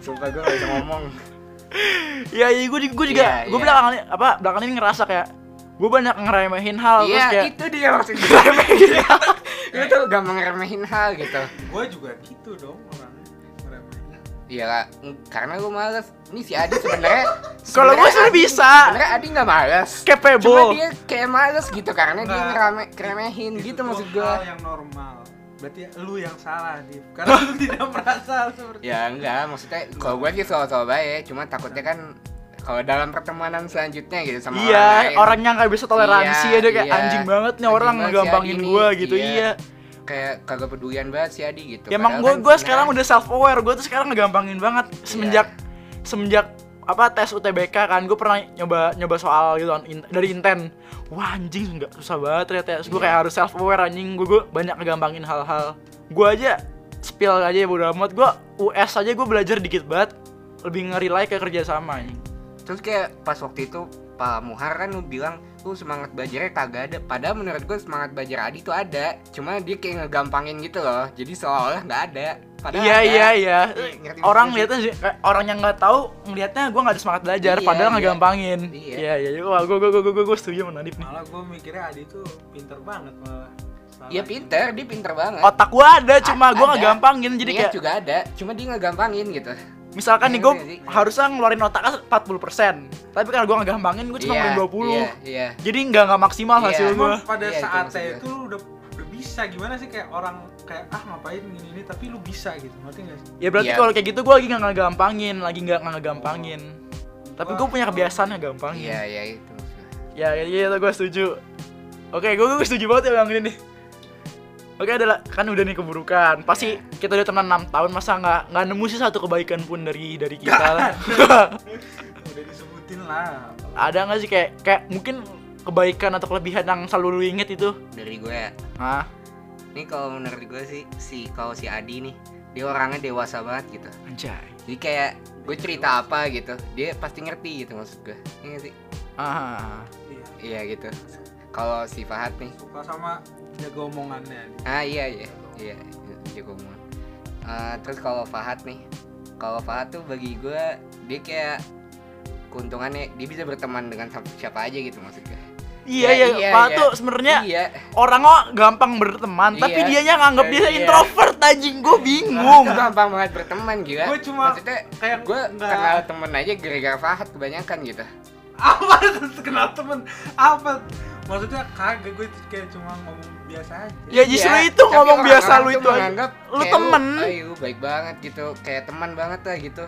Sumpah gua gak bisa ngomong.
Iya, iya gue juga, juga
Iya,
gue
iya.
belakangan ini- apa belakangan ini ngerasa kayak gue banyak ngeremehin hal
Iya,
terus kayak
itu dia maksud gua. Lu tuh gampang ngeremehin hal gitu.
gue juga gitu dong orangnya ngeremehin.
Iya, Kak. karena gua males. Nih si Adi sebenarnya
Kalau gua sebenarnya
Adi-
bisa.
Sebenarnya Adi gak males. Cuma
capable.
dia kayak males gitu karena dia
Nggak.
ngerame, ngeremehin
Itu
gitu
tuh
maksud gua.
hal yang normal berarti lu yang salah nih karena lu tidak merasa seperti
Ya enggak, maksudnya kalau gua sih soal-soal baik, cuma takutnya kan kalau dalam pertemanan selanjutnya gitu sama
Iya,
orang lain.
orangnya nggak bisa toleransi
Iya,
ya dia kayak
iya.
anjing banget nih
Anjing
orang
banget si
ngegampangin
Adi
gue
nih.
gitu.
Iya.
Iya.
kayak kagak pedulian banget si Adi gitu.
Ya emang
Padahal kan
gue gue
sebenarnya- Iya.
sekarang udah self aware, gue tuh sekarang ngegampangin banget semenjak semenjak apa tes UTBK kan gue pernah nyoba nyoba soal gitu kan, in- dari inten wah anjing nggak susah banget ternyata ya. gue
Iya.
kayak harus self aware anjing gue banyak ngegampangin hal-hal gue aja spill aja ya bodo amat gue US aja gue belajar dikit banget lebih ngerilai ke kerja sama anjing
terus kayak pas waktu itu Pak Muhar kan lu bilang lu semangat belajarnya kagak ada padahal menurut gue semangat belajar Adi tuh ada cuma dia kayak ngegampangin gitu loh jadi seolah-olah nggak ada padahal
Iya
ada.
iya iya.
Ngerti nggak sih?
Orang lihatnya sih- kayak orang yang nggak tahu ngelihatnya gue nggak ada semangat belajar,
Iya,
padahal
iya.
ngegampangin.
Iya.
Iya iya. Wah gue gue gue gue gue setuju sama Nadif nih.
malah gue mikirnya Adi tuh pinter banget malah Salah.
dia Iya,
gitu.
Ya
pinter dia pinter banget
Kan? Otak gue ada, cuma
A-
gue
ada.
ngegampangin. Jadi
Niat
kayak
juga ada cuma dia ngegampangin gitu
misalkan nih
Iya,
gue
iya, iya.
harusnya ngeluarin otaknya 40 tapi karena gue ngegampangin gue cuma ngeluarin 20
iya iya
Jadi nggak nggak maksimal
Iya.
hasil gue.
Cuma pada
Iya, itu maksud
saatnya
gua.
itu lu udah udah bisa gimana sih kayak orang kayak ah ngapain gini ini tapi lu bisa gitu ngerti nggak sih
Ya berarti
Iya.
kalau kayak gitu gue lagi nggak ngegampangin, lagi nggak nggak ngegampangin. Tapi
Wah.
gue punya kebiasaan ngegampangin.
iya iya itu maksud gua.
Ya, ya, ya, gue setuju. Oke, gue gue setuju banget ya bang ini. nih. Oke, adalah kan udah nih keburukan. Pasti
Iya.
kita udah temenan 6 tahun, masa nggak nggak nemu sih satu kebaikan pun dari dari kita lah.
udah disebutin lah
Ada nggak sih kayak kayak mungkin kebaikan atau kelebihan yang selalu lu inget itu?
dari gue ya
Ah,
ini kalau menurut gue sih si kalau si Adi nih dia orangnya dewasa banget gitu
anjay.
jadi kayak gue cerita apa gitu dia pasti ngerti gitu maksud gue iya nggak sih
Ah,
iya
iya gitu kalau si Fahad nih
suka sama jaga omongannya
ah iya iya iya dia ngomong Eh, terus kalau Fahad nih kalau Fahad tuh bagi gue dia kayak keuntungannya dia bisa berteman dengan siapa- siapa aja gitu maksud gue Ya,
iya iya,
iya,
Pak
iya.
tuh sebenarnya
iya
orang kok gampang berteman, tapi
Iya.
dianya nganggap dia
Iya.
introvert anjing, gue bingung.
gue gampang banget berteman gila
Gua cuma-
maksudnya
kayak
gue
nggak-
kenal temen aja gara-gara Fahad kebanyakan gitu
apa tuh kenal temen apa maksudnya kagak gue kayak cuma ngomong biasa aja
Ya justru
Iya,
itu
tapi
ngomong
orang-orang
biasa lu
tuh
itu. aja.
menganggap
Lu
kayak
temen.
"Ay, lu baik banget gitu kayak teman banget lah gitu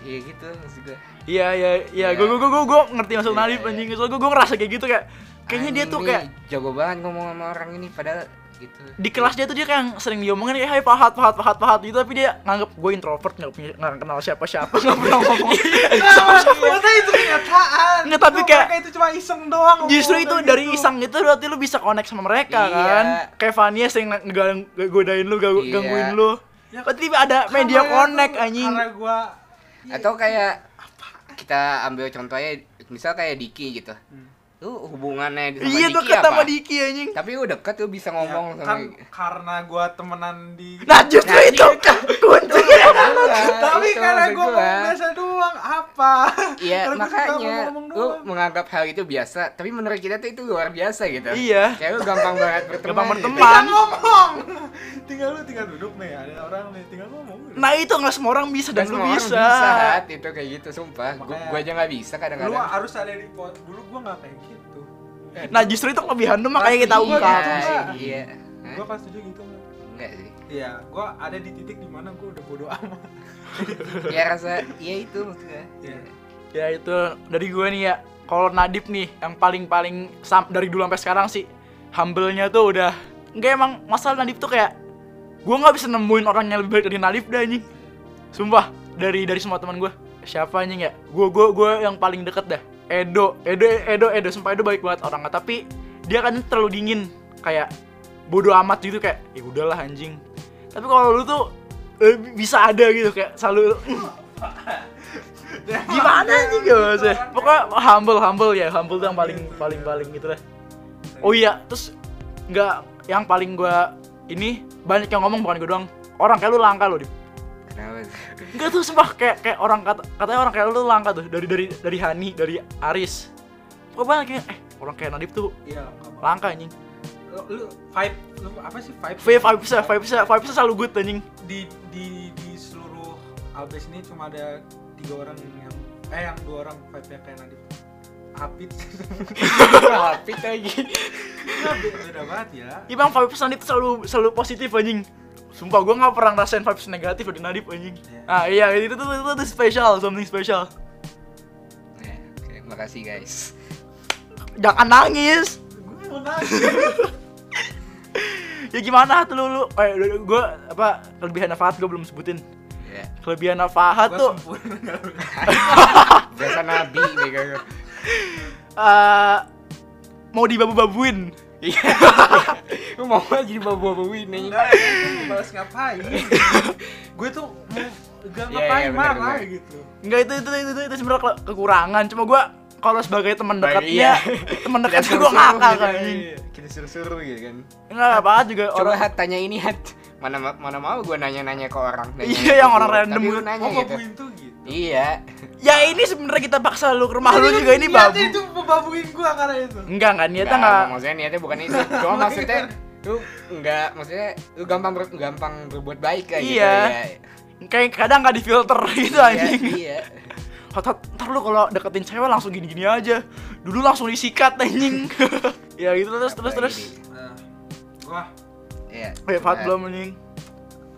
iya gitu maksud gue
Iya iya iya,
Iya.
gue gue gue gue ngerti maksud
Iya,
Nadif
iya.
anjing. Soalnya gue gue ngerasa kayak gitu kayak kayaknya dia
Anjing
tuh
nih,
kayak
jago banget ngomong sama orang ini padahal gitu
di kelas dia tuh dia kayak sering diomongin kayak hai pahat pahat pahat pahat gitu tapi dia nganggep gue introvert nggak punya nggak kenal siapa siapa nggak pernah ngomong
Iya,
sama siapa
Masa itu kenyataan.
Nggak, tapi
Itu
kayak-
mereka itu cuma iseng doang.
justru
ngomong
itu
kayak
dari
gitu.
iseng itu berarti lu bisa connect sama mereka
Iya.
kan kayak Fania sering nge- gang- godain lu ganggu-
Iya.
gangguin lu
Ya,
berarti ada
karena
media
ya
connect
tuh,
anjing
Karena gua
atau kayak kita ambil contohnya misal kayak Diki gitu
Hmm.
lu hubungannya sama
iya tuh
Diki
ketemu
apa
Diki anjing
tapi lu deket lu bisa ngomong sama
ya,
gitu.
kan karena gua temenan di Iya,
nah justru
Nah, kan
itu kuncinya
tapi
Iya, itu maksud
karena gua
gua.
ngomong biasa doang apa
Iya
Karena gua suka
makanya
ngomong-ngomong
lu
doang.
menganggap hal itu biasa tapi menurut kita tuh itu luar biasa gitu
Iya.
kayak lu gampang banget berteman
Gampang
gitu.
berteman.
tinggal ngomong tinggal lu tinggal duduk nih ada orang nih tinggal ngomong gitu. udah.
nah itu nggak semua orang bisa
dan
dan lu
semua orang
bisa
bisa hat itu kayak gitu sumpah Gu-
Makanya-
gua aja nggak bisa
lu
kadang-kadang
harus ada di pot dulu gua nggak kayak gitu Eh,
nah justru itu kelebihan lu makanya kita
Tapi-
Iya,
ungkap
Nggak.
iya
gua pas setuju gitu
enggak sih
Iya, gua ada di titik dimana gua udah bodo amat.
ya rasa iya itu maksud gua
Iya.
ya itu dari gue nih ya kalau Nadif nih yang paling paling dari dulu sampai sekarang sih humble-nya tuh udah enggak emang masalah Nadif tuh kayak gue nggak bisa nemuin orang yang lebih baik dari Nadif dah anjing sumpah dari dari semua teman gue siapa anjing ya gue gue gue yang paling deket dah Edo Edo Edo Edo sumpah Edo baik banget orangnya tapi dia kan terlalu dingin kayak bodoh amat gitu kayak ya udahlah anjing tapi kalau lu tuh eh, bisa ada gitu kayak selalu
Iya.
gimana sih gak maksudnya pokoknya humble humble ya humble tuh yang paling paling paling gitu lah oh iya terus nggak yang paling gua ini banyak yang ngomong bukan gua doang orang kayak lu langka lo di
kenapa sih
Enggak tuh sumpah kayak kayak orang kata katanya orang kayak lu langka tuh dari dari dari Hani dari Aris pokoknya banyak yang eh orang kayak Nadif tuh
Iya, nggak apa-apa.
langka anjing
Lu, lu vibe lu apa sih vibe?
vibe vibe bisa vibe bisa vibe selalu good anjing
di di di seluruh Albes ini cuma ada tiga orang yang eh yang dua orang vibe nya kayak Nadif Apit
tapi lagi
Nggak, be- beda banget ya
ya bang vibe Nadif tuh selalu selalu positif anjing sumpah gua nggak pernah ngerasain vibes negatif dari Nadif anjing
Iya.
ah iya itu tuh itu tuh special something special
Nah, oke, makasih guys
jangan nangis
gue mau nangis
ya gimana tuh lu lu eh gue apa kelebihan Fahad gue belum sebutin
ya
kelebihan Fahad
gue
tuh
sempurna nggak lu-
biasa nabi mereka tuh.
eh mau dibabu-babuin
Iya. lu mau aja jadi bawa-bawain nih
nggak lu balas ngapain gue tuh mau gak
Iya,
ngapain
iya, benar,
marah
benar.
gitu
Enggak itu itu itu itu, itu sebenarnya ke- kekurangan. Cuma gua kalau sebagai teman
Baik,
dekatnya, teman dekatnya gua ngakak
Iya,
anjing.
Iya.
kita suruh-suruh
ya,
gitu kan
Enggak banget juga
coba
orang
hat tanya ini hat mana ma- mana mau gue nanya-nanya ke orang nanya
Iya, yang orang
Tapi
random
lu
gitu.
nanya
mau
gitu
babuin tuh gitu
iya
Ya ini sebenarnya kita paksa lu ke rumah lu
Jadi
juga ini
niatnya
babu.
Iya, itu membabuin gue karena itu
Iya.
Enggak enggak niatnya
Nggak,
enggak.
maksudnya niatnya bukan itu cuma maksudnya
gitu.
lu nggak maksudnya lu gampang ber- gampang berbuat baik kayak
Iya.
gitu
Kayak kadang enggak difilter gitu
ya
anjing.
iya
Hot hot ntar lu kalau deketin cewek langsung gini-gini aja. Dulu langsung disikat anjing. ya gitu terus terus terus.
Eh, gue
iya
Eh
Nah,
Fat belum anjing.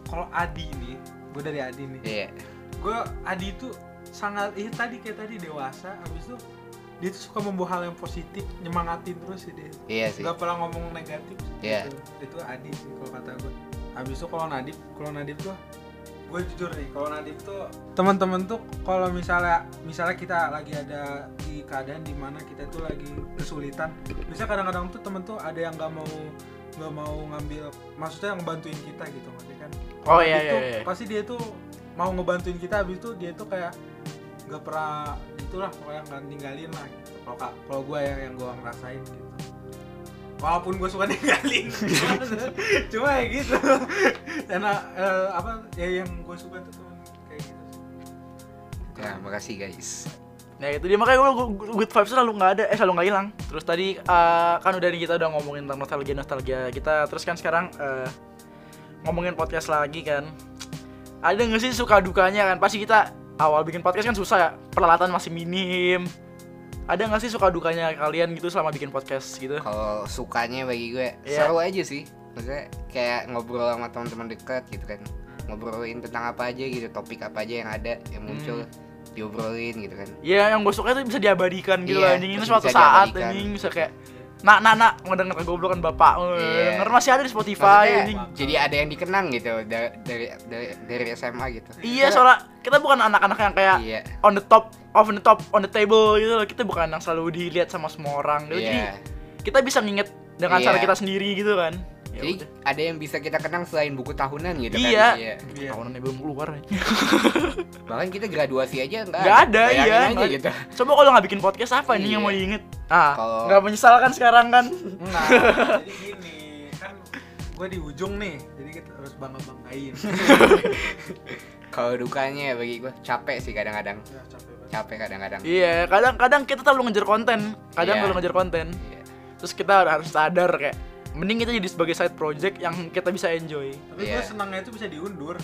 kalau Adi ini gue dari Adi nih
iya
gue Adi itu sangat ya tadi kayak tadi dewasa abis itu dia tuh suka membawa hal yang positif nyemangatin terus sih dia
iya sih
nggak pernah ngomong negatif sih
Iya.
gitu. itu Adi sih kalau kata gue abis itu kalau Nadif kalau Nadif tuh gue jujur nih kalau Nadif tuh teman-teman tuh kalau misalnya misalnya kita lagi ada di keadaan dimana kita tuh lagi kesulitan bisa kadang-kadang tuh temen tuh ada yang nggak mau nggak mau ngambil maksudnya yang bantuin kita gitu ngerti kan
Oh iya
itu
iya iya.
pasti dia tuh mau ngebantuin kita habis itu dia tuh kayak nggak pernah itulah pokoknya nggak ninggalin lah gitu kalau ka- kalau gue yang yang gue ngerasain gitu walaupun gue suka ninggalin cuma ya gitu dan eh, apa ya yang gue suka tuh temen kayak gitu sih.
ya makasih guys
Nah itu dia makanya gue good vibes selalu nggak ada, eh selalu nggak hilang. Terus tadi eh, kan udah nih kita udah ngomongin tentang nostalgia nostalgia kita. Terus kan sekarang eh, ngomongin podcast lagi kan. Ada nggak sih suka dukanya kan? Pasti kita awal bikin podcast kan susah ya, peralatan masih minim. Ada nggak sih suka dukanya kalian gitu selama bikin podcast gitu?
kalau sukanya bagi gue
Iya.
seru aja sih maksudnya kayak ngobrol sama teman-teman dekat gitu kan ngobrolin tentang apa aja gitu topik apa aja yang ada yang
Hmm.
muncul diobrolin gitu kan
Ya yang gue suka itu bisa diabadikan gitu
Iya,
anjing ini
terus
suatu
bisa
saat
diabadikan.
anjing bisa kayak Nak nak nak mau denger kegoblokan bapak. Mau
Iya.
Denger masih ada di Spotify.
Maksudnya, ya,
anjing.
jadi ada yang dikenang gitu da- dari dari dari SMA gitu.
Iya, soalnya kita bukan anak-anak yang kayak
Iya.
on the top of the top on the table gitu loh. Kita bukan yang selalu dilihat sama semua orang gitu. Jadi
Iya.
kita bisa nginget dengan cara
Iya.
kita sendiri gitu kan. Ya
Jadi
udah.
ada yang bisa kita kenang selain buku tahunan gitu kan.
Iya.
Iya.
Iya.
tahunan belum keluar.
Bahkan kita graduasi aja enggak.
Nggak ada, iya.
Nah, aja gitu.
Coba kalau nggak bikin podcast apa nih yang
Iya.
mau diinget? Ah,
Kalau-
nggak menyesal kan sekarang kan?
Enggak. jadi gini, kan gue di ujung nih. Jadi kita harus bangga-banggain.
Kalau dukanya ya bagi gua capek sih kadang-kadang.
ya, capek banget.
Capek kadang-kadang.
Iya, kadang-kadang kita terlalu ngejar konten. Kadang
Iya.
terlalu ngejar konten.
Iya.
Terus kita harus sadar kayak mending kita jadi sebagai side project yang kita bisa enjoy.
Tapi
Iya.
gue senangnya itu bisa diundur.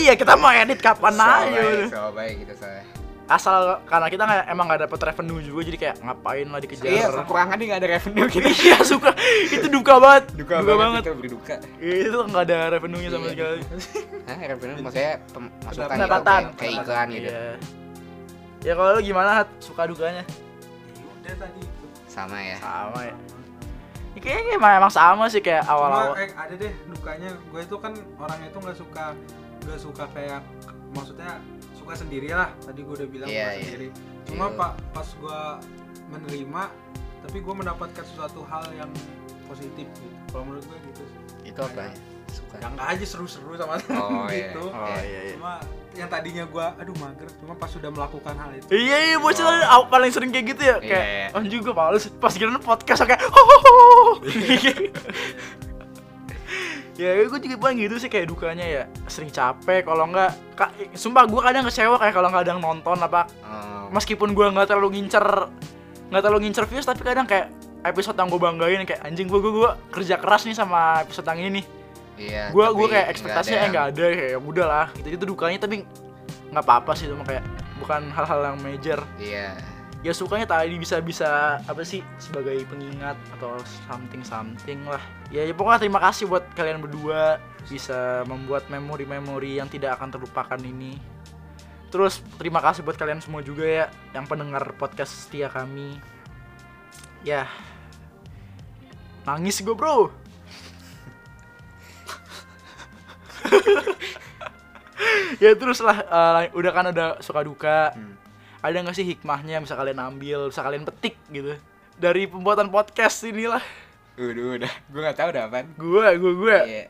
iya, kita mau edit kapan aja.
Soalnya-
udah.
soalnya gitu soalnya.
Asal karena kita nggak emang nggak dapet revenue juga jadi kayak ngapain lah dikejar.
Iya, kekurangannya nggak ada revenue gitu.
Iya, suka. Itu duka banget.
Duka, banget, itu berduka.
Itu nggak ada revenue-nya sama
Iya.
sekali.
Hah, revenue maksudnya pemasukan gitu,
Pendapatan.
kayak, kayak iklan gitu.
Iya. Ya kalau lu gimana Hat? suka dukanya?
Ya udah tadi itu.
Sama ya.
Sama ya. Ya, Kayaknya emang, emang sama sih kayak
Cuma
awal-awal.
eh, ada deh dukanya. Gue itu kan orangnya itu nggak suka nggak suka kayak maksudnya suka sendiri lah. Tadi gue udah bilang
Iya,
suka
iya.
sendiri. Cuma
Iya.
pak pas gue menerima, tapi gue mendapatkan sesuatu hal yang positif gitu. Kalau menurut gue gitu sih.
Itu apa? ya? Suka.
Yang nggak aja seru-seru sama temen
Oh, iya.
gitu.
Oh,
iya
Cuma yang tadinya gue aduh mager. Cuma pas sudah melakukan hal itu.
Iya iya bocil
Wow.
tadi aw- paling sering kayak gitu ya kayak
Iya, iya.
oh juga males pas giliran podcast kayak hohoho. ya gue juga paling gitu sih kayak dukanya ya sering capek kalau enggak ka, sumpah gue kadang kecewa kayak kalau nggak ada yang nonton apa
Oh,
meskipun gue nggak terlalu ngincer nggak terlalu ngincer views tapi kadang kayak episode yang gue banggain kayak anjing gue gue kerja keras nih sama episode yang ini
iya.
gue gue
tapi
kayak
nggak
ekspektasinya
ada
eh, nggak ada kayak ya udahlah gitu itu dukanya tapi nggak apa-apa sih cuma kayak bukan hal-hal yang major
yang- Iya.
ya sukanya tadi bisa bisa apa sih sebagai pengingat atau something something lah ya, ya pokoknya terima kasih buat kalian berdua bisa membuat memori-memori yang tidak akan terlupakan ini terus terima kasih buat kalian semua juga ya yang pendengar podcast setia kami ya nangis gue bro ya terus lah eh, udah kan ada suka duka
Hmm.
ada nggak sih hikmahnya yang bisa kalian ambil, bisa kalian petik gitu dari pembuatan podcast inilah.
Udah, udah. Gue nggak tahu dah apaan.
Gue, gue, gue.
Iya.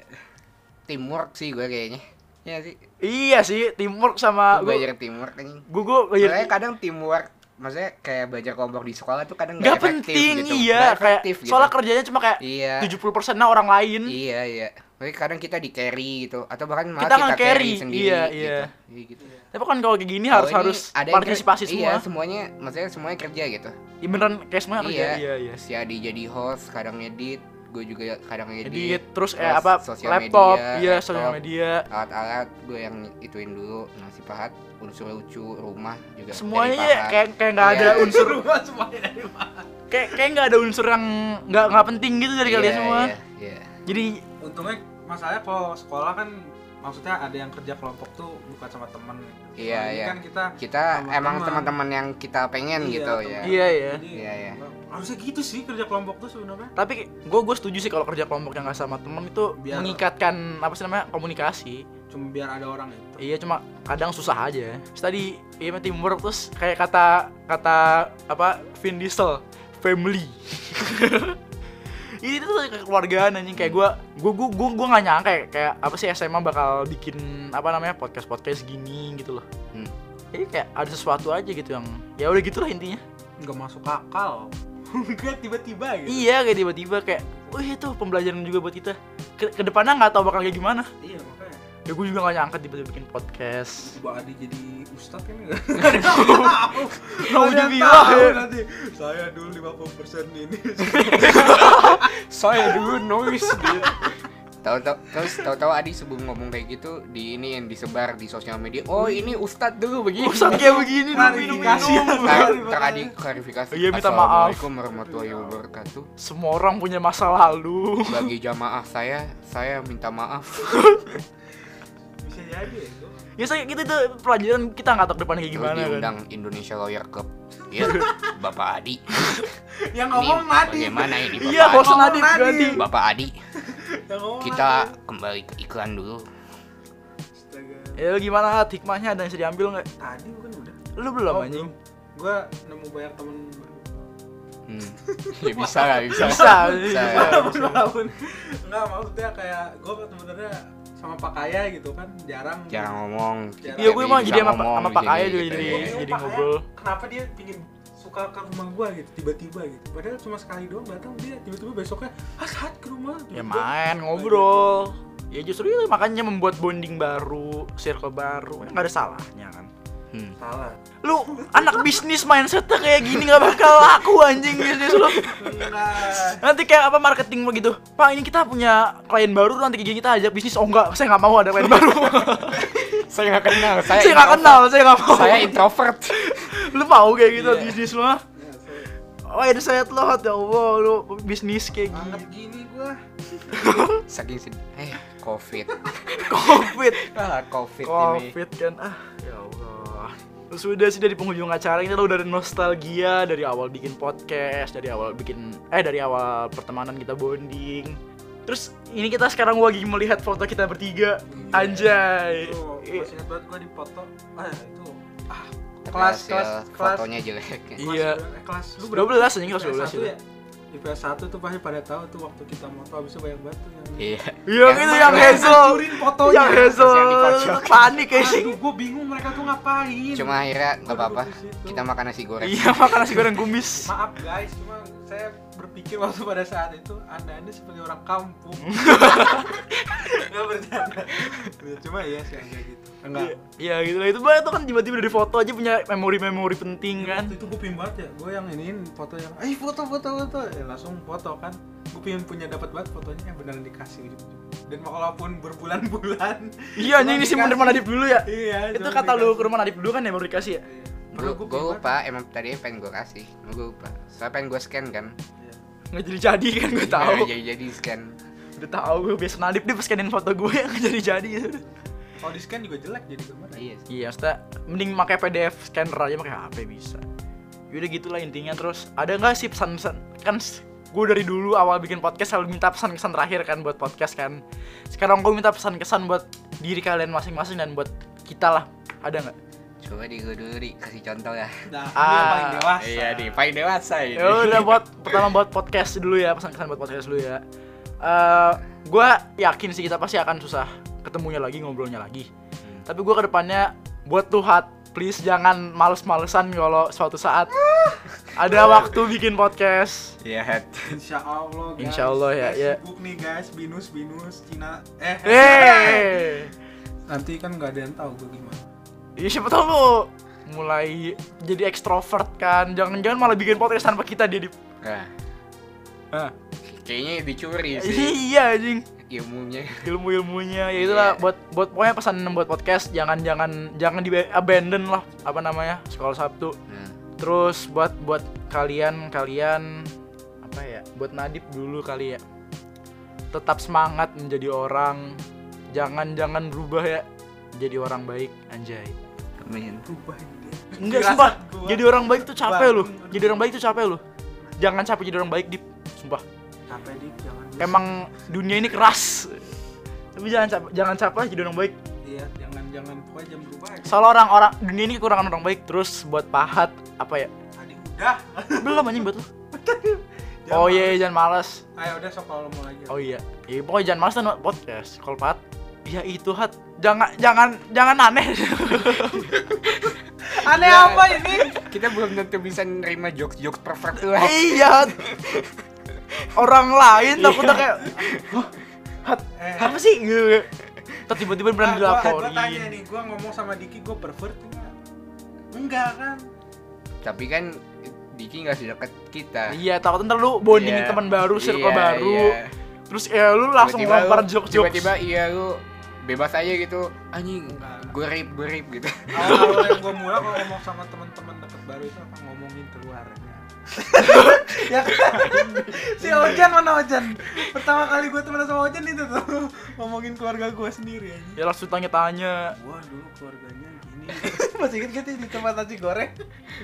Teamwork sih gue kayaknya. Iya sih.
Iya sih, teamwork sama
Gue
gue.
belajar teamwork anjing.
Gue, gue
Makanya
belajar.
kadang teamwork maksudnya kayak belajar kelompok di sekolah tuh kadang
Gak
kan nggak
penting,
gitu.
iya.
Nggak
Kayak
efektif gitu.
soalnya kerjanya cuma kayak
Iya.
70 persennya orang lain.
Iya, iya. Makanya kadang kita di carry gitu atau bahkan malah
Kita
kita,
nge-carry,
carry sendiri
iya,
gitu.
iya.
Iya, gitu.
Tapi kan kalau kayak gini harus
Kalau ini
harus
ada yang
partisipasi
kerja-
semua.
Iya, semuanya maksudnya semuanya kerja gitu.
Iya, beneran kayak semuanya kerja.
Iya.
Iya, iya.
Si Adi jadi host, kadang edit, gue juga kadang edit.
Jadi terus eh
terus
apa
sosial
laptop,
media,
iya sosial
laptop.
media.
alat-alat gue yang ituin dulu nasi pahat unsur lucu rumah juga
Semuanya
dari
ya
Pahat.
kayak kayak nggak ada
Iya.
unsur
Rumah semuanya dari mana?
kayak kayak nggak ada unsur yang nggak nggak penting gitu dari kalian
Iya,
semua.
iya, iya.
Jadi
untungnya masalahnya kalau sekolah kan maksudnya ada yang kerja kelompok tuh bukan sama temen
Iya,
Kalau ini
iya.
kan kita
kita
Sama
emang
teman.
teman-teman yang kita pengen
Iya,
gitu
teman.
ya
iya ya.
jadi
Iya, iya.
harusnya gitu sih kerja kelompok tuh sebenarnya
tapi gue gue setuju sih kalau kerja kelompok yang gak sama temen itu
Biar-
mengikatkan apa sih namanya komunikasi
cuma biar ada orang itu
iya cuma kadang susah aja terus tadi iya mah teamwork terus kayak kata kata apa Vin Diesel family ini tuh kekeluargaan anjing kayak gue gue gue gue gue nggak nyangka ya, kayak apa sih SMA bakal bikin apa namanya podcast podcast gini gitu loh
Hmm.
jadi kayak ada sesuatu aja gitu yang ya udah gitulah intinya
nggak masuk akal nggak tiba-tiba gitu
Iya kayak tiba-tiba kayak Wih itu pembelajaran juga buat kita Ke Kedepannya nggak tahu bakal kayak gimana
iya makanya
Ya gue juga gak nyangka tiba-tiba bikin podcast
coba Adi jadi ustad kan nggak iya. ada yang tahu Ada
Nauzubillah,
yang
ya.
tahu nanti saya dulu 50 persen ini
saya dulu noise dia tahu-tahu terus tahu-tahu Adi sebelum ngomong kayak gitu di ini yang disebar di sosial media oh ini Ustadz dulu begini
Pusat kayak begini dong
Klarifikasi.
minum-minum
Ntar- ntar Adi klarifikasi
Iya, minta maaf.
Assalamualaikum warahmatullahi wabarakatuh
Semua orang punya masa lalu
bagi jamaah saya saya minta maaf
bisa jadi ya itu
Ya saya gitu itu pelajaran kita nggak tahu ke depannya kayak
Terus
gimana kan
diundang Indonesia Lawyer Club Iya, Bapak Adi.
yang ngomong Nadi
Bagaimana ini Bapak
Iya,
Adi?
host
Ngomong
Nadif
Nadif.
Gadi.
Bapak Adi,
yang ngomong
kita
Nadif.
kembali ke iklan dulu.
Astaga.
Ya lu gimana At? hikmahnya ada yang bisa diambil nggak?
tadi bukan udah
Lu belum
Oh,
anjing.
gue nemu banyak temen baru
Hmm. Ya bisa lah, bisa.
Bisa,
Bisa.
bisa.
walaupun walaupun nggak maksudnya kayak gue sebenarnya sama Pak Kaya gitu kan jarang
Jangan ngomong.
Iya,
Iya, gue
Lebih
emang
bisa
jadi sama,
ngomong
sama
di
Pak
sini
Kaya juga
gitu
jadi
ya.
Iya,
jadi
Pak Kaya,
ngobrol.
kenapa dia pingin suka ke rumah gua gitu tiba-tiba gitu padahal cuma sekali doang datang dia tiba-tiba besoknya ah saat ke rumah
Ya
Tiba-tiba.
main ngobrol. Ya justru itu makanya membuat bonding baru, circle baru. Ya, nggak ada salahnya kan.
Hmm.
salah
Lu anak bisnis mindsetnya kayak gini nggak bakal laku anjing bisnis lu. Iya.
enggak
Nanti kayak apa marketing lu gitu. Pak ini kita punya klien baru nanti kayak gini kita ajak bisnis. Oh enggak, saya nggak mau ada klien baru.
Saya nggak kenal. Saya,
saya nggak kenal, saya nggak mau.
Saya introvert.
Lu mau kayak gitu
Iya.
bisnis lu? ah?
Ya, saya
Oh ya saya telat ya Allah lu bisnis kayak
anget
gini.
gini gua
Saking sedih. Eh, covid.
Covid.
Ah, covid, ini.
Covid kan ah ya Allah. Sudah sih dari penghujung acara ini lo dari nostalgia dari awal bikin podcast, dari awal bikin eh dari awal pertemanan kita bonding. Terus ini kita sekarang lagi melihat foto kita bertiga. Anjay.
Tuh,
I-
Iya, masih ingat banget gua di foto ah itu ah kelas
Kelas,
kelas kelas
Fotonya jelek.
Iya.
eh, kelas lu
12 anjing kelas
IPS
12
satu
itu.
ya IPS 1 tuh pasti pada tahu tuh waktu kita moto habis itu banyak banget tuh yang
Iya.
Iya itu yang
Emang
Hazel.
hancurin fotonya.
Yang Hazel.
Yang dikocok.
Panik ya sih.
Aduh, gua bingung mereka tuh ngapain.
Cuma akhirnya nggak apa-apa.
Gua duduk di situ.
Kita makan nasi goreng.
Iya makan nasi goreng kumis.
Maaf guys, cuma saya berpikir waktu pada saat itu anda anda sebagai orang kampung. Gak bercanda. Ya, Cuma iya sih agak gitu. Enggak.
Iya gitu lah itu banget tuh kan tiba-tiba dari foto aja punya memori-memori penting kan.
Waktu itu gue pingin banget ya, gue yang iniin foto yang, eh foto foto foto, ya langsung foto kan. Gue pingin punya dapat banget fotonya yang beneran dikasih. gitu. Dan walaupun berbulan-bulan.
Iya anjing ini simpen di rumah Nadif dulu ya.
Iya.
Itu
cuma
kata lu
dikasih.
ke rumah Nadif dulu kan ya baru dikasih ya?
Iya. Padahal gua
Gue
pingin banget.
lupa, emang tadi pengen gue kasih. Gue lupa. Soalnya pengen gue scan kan.
Iya.
Nggak jadi-jadi kan gue tahu.
Iya, Jadi jadi scan.
Udah tahu gue biasa Nadif dia pas scanin foto gue nggak jadi-jadi.
Kalau di scan juga jelek jadi gambar.
Iya. sih.
Iya, maksudnya mending pakai PDF scanner aja pakai HP bisa. Yaudah Ya gitulah intinya terus ada nggak sih pesan-pesan kan s- gue dari dulu awal bikin podcast selalu minta pesan-kesan terakhir kan buat podcast kan sekarang gue minta pesan-kesan buat diri kalian masing-masing dan buat kita lah ada nggak
Coba di gua dulu Ri, kasih contoh ya.
Nah, ini
Ah,
yang paling dewasa.
Iya nih, paling dewasa ini.
ya udah buat pertama buat podcast dulu ya pesan-pesan buat podcast dulu ya Eh gue yakin sih kita pasti akan susah ketemunya lagi ngobrolnya lagi
Hmm.
tapi gue kedepannya buat Tuhan please jangan males-malesan kalau suatu saat ada waktu bikin podcast
Iya, head.
Insya Allah guys.
Insya Allah, ya,
Guys,
ya.
Sibuk nih guys, binus binus Cina. Eh.
eh
Nanti kan nggak ada yang tahu gue gimana.
ya siapa tau lu mulai jadi ekstrovert kan jangan-jangan malah bikin podcast tanpa kita dia di
Nah,
Ah.
kayaknya dicuri sih
iya anjing
ilmunya.
ilmu-ilmunya ya itulah
Iya.
buat buat pokoknya pesan buat podcast jangan jangan jangan di abandon lah apa namanya sekolah Sabtu
Nah,
terus buat buat kalian kalian apa ya buat Nadib dulu kali ya tetap semangat menjadi orang jangan jangan berubah ya jadi orang baik anjay
kemudian.
Berubah dia.
enggak
Firasat
sumpah
gua.
jadi orang baik tuh capek
Bang.
loh jadi orang baik tuh capek loh jangan capek jadi orang baik dip sumpah
Capek dik jangan. lu-
emang dunia ini keras tapi jangan capek jangan capek jadi orang baik
Iya jangan jangan pokoknya jangan berubah. Ya.
Soalnya orang-orang dunia ini kekurangan orang baik terus buat pahat apa ya?
Tadi udah.
Belum anjing buat lu.
Jangan
oh iya jangan malas.
males. Ayo Eh, udah sok kalau lu mau lagi.
Oh iya. Ya pokoknya jangan malas dan buat podcast. Kalau pahat ya itu hat. Jangan jangan jangan aneh.
Aneh apa ini?
Kita belum tentu bisa nerima jokes-jokes perfect tuh.
iya. Hat. Orang lain takutnya kayak "Hah? hat.
Iya. Eh.
Apa sih? Gitu. Terus tiba-tiba
Nah,
berani
gua, gua tanya
dilaporin.
nih, gua ngomong sama Diki, gua pervert nggak? Enggak kan?
Tapi kan Diki nggak sedekat kita.
Iya, takut ntar lu bondingin
Iya.
teman baru, circle
Iya,
baru.
iya.
Terus ya lu langsung
Tiba-tiba
lempar
lu-
jokes-jokes.
Tiba-tiba iya lu bebas aja gitu. Anjing, gue rip, gue rip gitu.
Awal-awal yang gue mulai kalau ngomong sama teman-teman deket baru itu apa ngomongin keluarga. ya kan? si Ojan mana Ojan? Pertama kali gue temenan sama Ojan itu tuh ngomongin keluarga gue sendiri aja.
Ya langsung tanya-tanya.
Wah dulu keluarganya gini. Masih inget gak sih di tempat nasi goreng?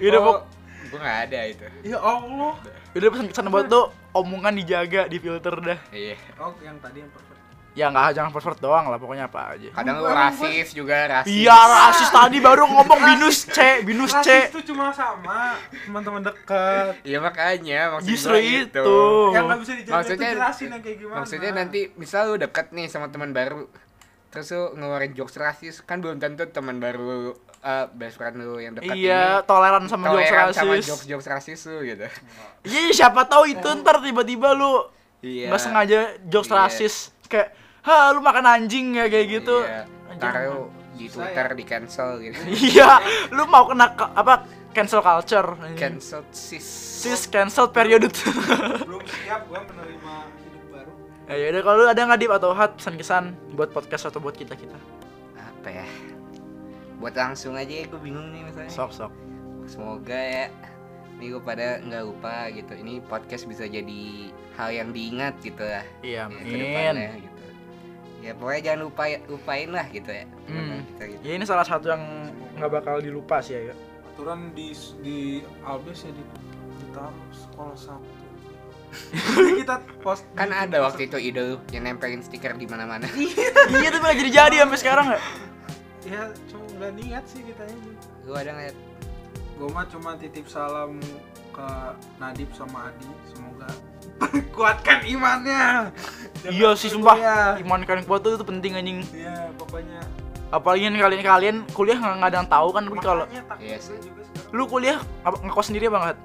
Iya,
Oh,
Pok.
gue nggak ada itu
Ya Allah.
Udah pesan-pesan
Nah.
buat tuh omongan dijaga, difilter dah.
iya
Oh, yang tadi yang perfect.
Ya nggak jangan pervert doang lah, pokoknya apa aja.
kadang lu
Gua-
rasis juga rasis
Iya, rasis tadi baru ngomong binus C, binus
Rasis
C.
itu cuma sama teman-teman dekat.
Iya, makanya maksud
Justru
gua
itu.
Yang nggak bisa dijaga
Oh. Maksudnya-
itu jelasin yang kayak gimana.
maksudnya nanti misal lu deket nih sama teman baru terus lu ngeluarin jokes rasis kan belum tentu teman baru eh best friend lu yang dekat
Iya, toleran
ini
sama jokes
toleran sama
rasis.
jokes jokes rasis lu gitu
Iya, siapa tahu itu ntar tiba-tiba lu
iya
nggak sengaja jokes
Iya.
rasis kayak, "Ha, lu makan anjing ya kayak gitu."
iya.
Anjing.
ntar lu di
Susah
twitter
ya.
di cancel gitu
Iya, lu mau kena ke- apa cancel culture. anjing.
cancel sis
Sis cancel periode.
belum siap gua menerima hidup baru.
ya udah kalau lu ada nggak Dip atau hat pesan-kesan buat podcast atau buat kita-kita?
apa ya buat langsung aja gue bingung nih misalnya
Sok-sok.
semoga ya ini gue pada nggak lupa gitu ini podcast bisa jadi hal yang diingat gitu lah
Iya,
ya,
amin.
gitu ya pokoknya jangan lupa lupain lah gitu ya
Hmm.
Kita gitu.
Ya ini salah satu yang nggak bakal dilupa sih ya.
Aturan di di Albes ya di ditaruh sekolah Sabtu. Jadi kita post
kan ada waktu itu ide lu yang nempelin stiker di mana-mana
iya tapi nggak jadi-jadi sampai sekarang nggak.
ya cuma nggak niat sih kita ini.
lu ada nggak ya?
Gua mah cuma titip salam ke Nadib sama Adi semoga kuatkan imannya. Jangan
Iya sih
takut
sumpah.
kuliah.
Iman kalian kuat tuh itu penting anjing.
Iya pokoknya.
Apalagi yang kalian kalian kuliah nggak nggak ada yang tahu kan tapi kalau
Makanya takut
Iya
gua
sih.
juga sekarang.
lu kuliah apa ngekos sendiri apa nggak?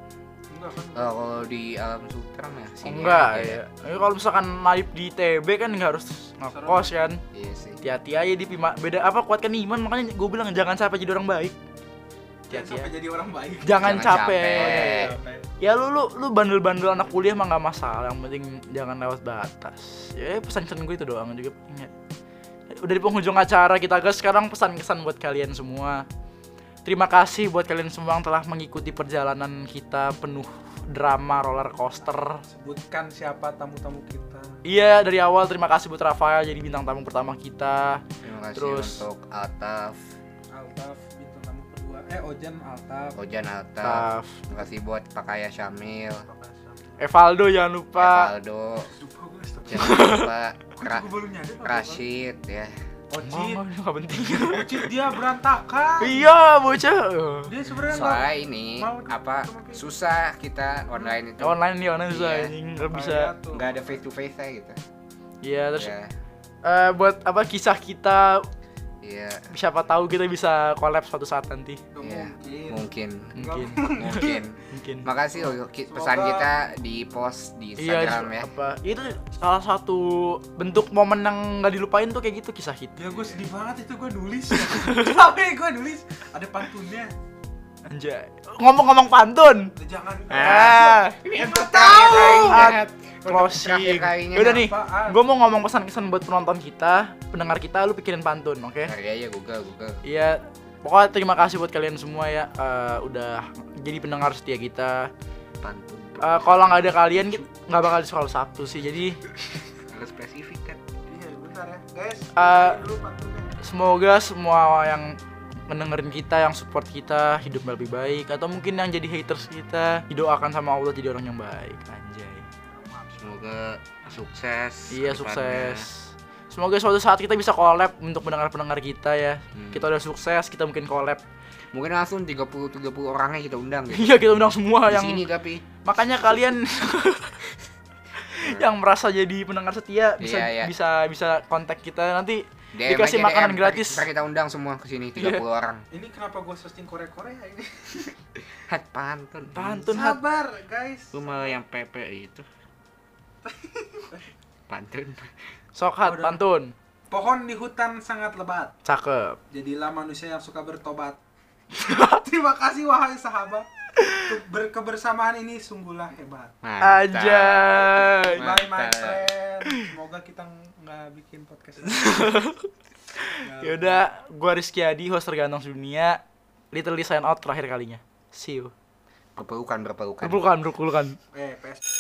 Enggak kan?
Oh, kalau di alam sutra mah
Oh,
sini
enggak
aja
ya. Tapi kalau misalkan naib di TB kan nggak harus ngekos kan.
iya sih
Hati-hati aja di pima beda apa kuatkan iman makanya gue bilang jangan sampai jadi orang baik.
Jangan
Hati-hati
sampai
aja.
jadi orang baik. Oh, iya,
Jangan,
Jangan
capek. Oh,
capek.
Ya lu lu lu bandel-bandel anak kuliah mah nggak masalah, yang penting jangan lewat batas. Ya pesan-pesan gue itu doang juga. Ya. Udah di penghujung acara kita guys, sekarang pesan-kesan buat kalian semua. Terima kasih buat kalian semua yang telah mengikuti perjalanan kita penuh drama roller coaster.
sebutkan siapa tamu-tamu kita
Iya dari awal terima kasih buat Rafael jadi bintang tamu pertama kita.
terima kasih
Terus-
untuk Altaf
Altaf bintang tamu kedua eh Ojan Altaf
Ojan Altaf
Taf,
terima kasih buat Pakaya Syamil
Evaldo jangan lupa.
Aldo
Lupa gue astaga.
jangan lupa
Gue
Ra-
juga baru nyadar apa
Rashid ya
gue. Ojit
Mama nggak penting.
Ojit dia berantakan
iya bocah.
dia sebenarnya nggak-
soalnya ini
mau-
apa
mau-
susah kita online itu
Online nih online susah
Iya.
anjing nggak bisa.
Kayak tuh.
nggak ada face to face nya gitu
Iya terus
ya
Eh, buat apa kisah kita
iya
siapa tahu kita bisa collab suatu saat nanti
Nggak
Iya.
mungkin
mungkin
mungkin
mungkin
mungkin
makasih loh ki- pesan
Semoga-
kita di post
Iya,
di Instagram ya
apa itu salah satu bentuk momen yang nggak dilupain tuh kayak gitu kisah
ya
kita
gue sedih banget itu gue nulis tapi gue nulis ada pantunnya
anjay ngomong-ngomong pantun
jangan
Eh.
ah
ini
tahu.
Iya, banget
closing
Terakhir kalinya.
udah nih
Apaan?
gue mau ngomong pesan-pesan buat penonton kita pendengar kita lu pikirin pantun oke
cari aja Google Google
Iya, pokoknya terima kasih buat kalian semua ya eh, udah jadi pendengar setia kita.
pantun
Eh, kalau nggak ada kalian kita nggak bakal di sekolah Sabtu sih. Jadi
harus spesifik kan
iya bentar ya guys
Eh.
dulu pantunnya
Semoga semua yang mendengarin kita, yang support kita hidup lebih baik atau mungkin yang jadi haters kita didoakan sama Allah jadi orang yang baik. Anjay.
semoga sukses kedepannya.
Iya, sukses. Semoga suatu saat kita bisa collab untuk pendengar-pendengar kita ya.
Hmm.
Kita udah sukses, kita mungkin collab.
mungkin langsung 30 30 orangnya kita undang gitu
Iya, kita undang semua
di
yang
sini tapi
makanya kalian yang merasa jadi pendengar setia bisa
Iya, iya.
bisa bisa kontak kita nanti
DM
Dikasih
aja,
makanan
DM.
gratis. Iya.
Ntar kita undang semua ke sini 30 orang
ini kenapa gue searching Korea Korea ini
hat pantun
pantun hat.
sabar guys
Lu malah yang pepe itu. Pantun.
Sok hat
Udah.
pantun.
pohon di hutan sangat lebat
Cakep.
Jadilah manusia yang suka bertobat. Terima kasih wahai sahabat. Ke- ber- kebersamaan ini sungguhlah hebat.
Mantap.
Anjay.
Bye my
Mantap.
friend. Semoga kita ng- nggak bikin podcast. ini.
Ya udah, gua Rizky Adi, host tergantong dunia. Literally sign out terakhir kalinya. See you.
Berpelukan, berpelukan.
Berpelukan, berpelukan.
Eh, PS.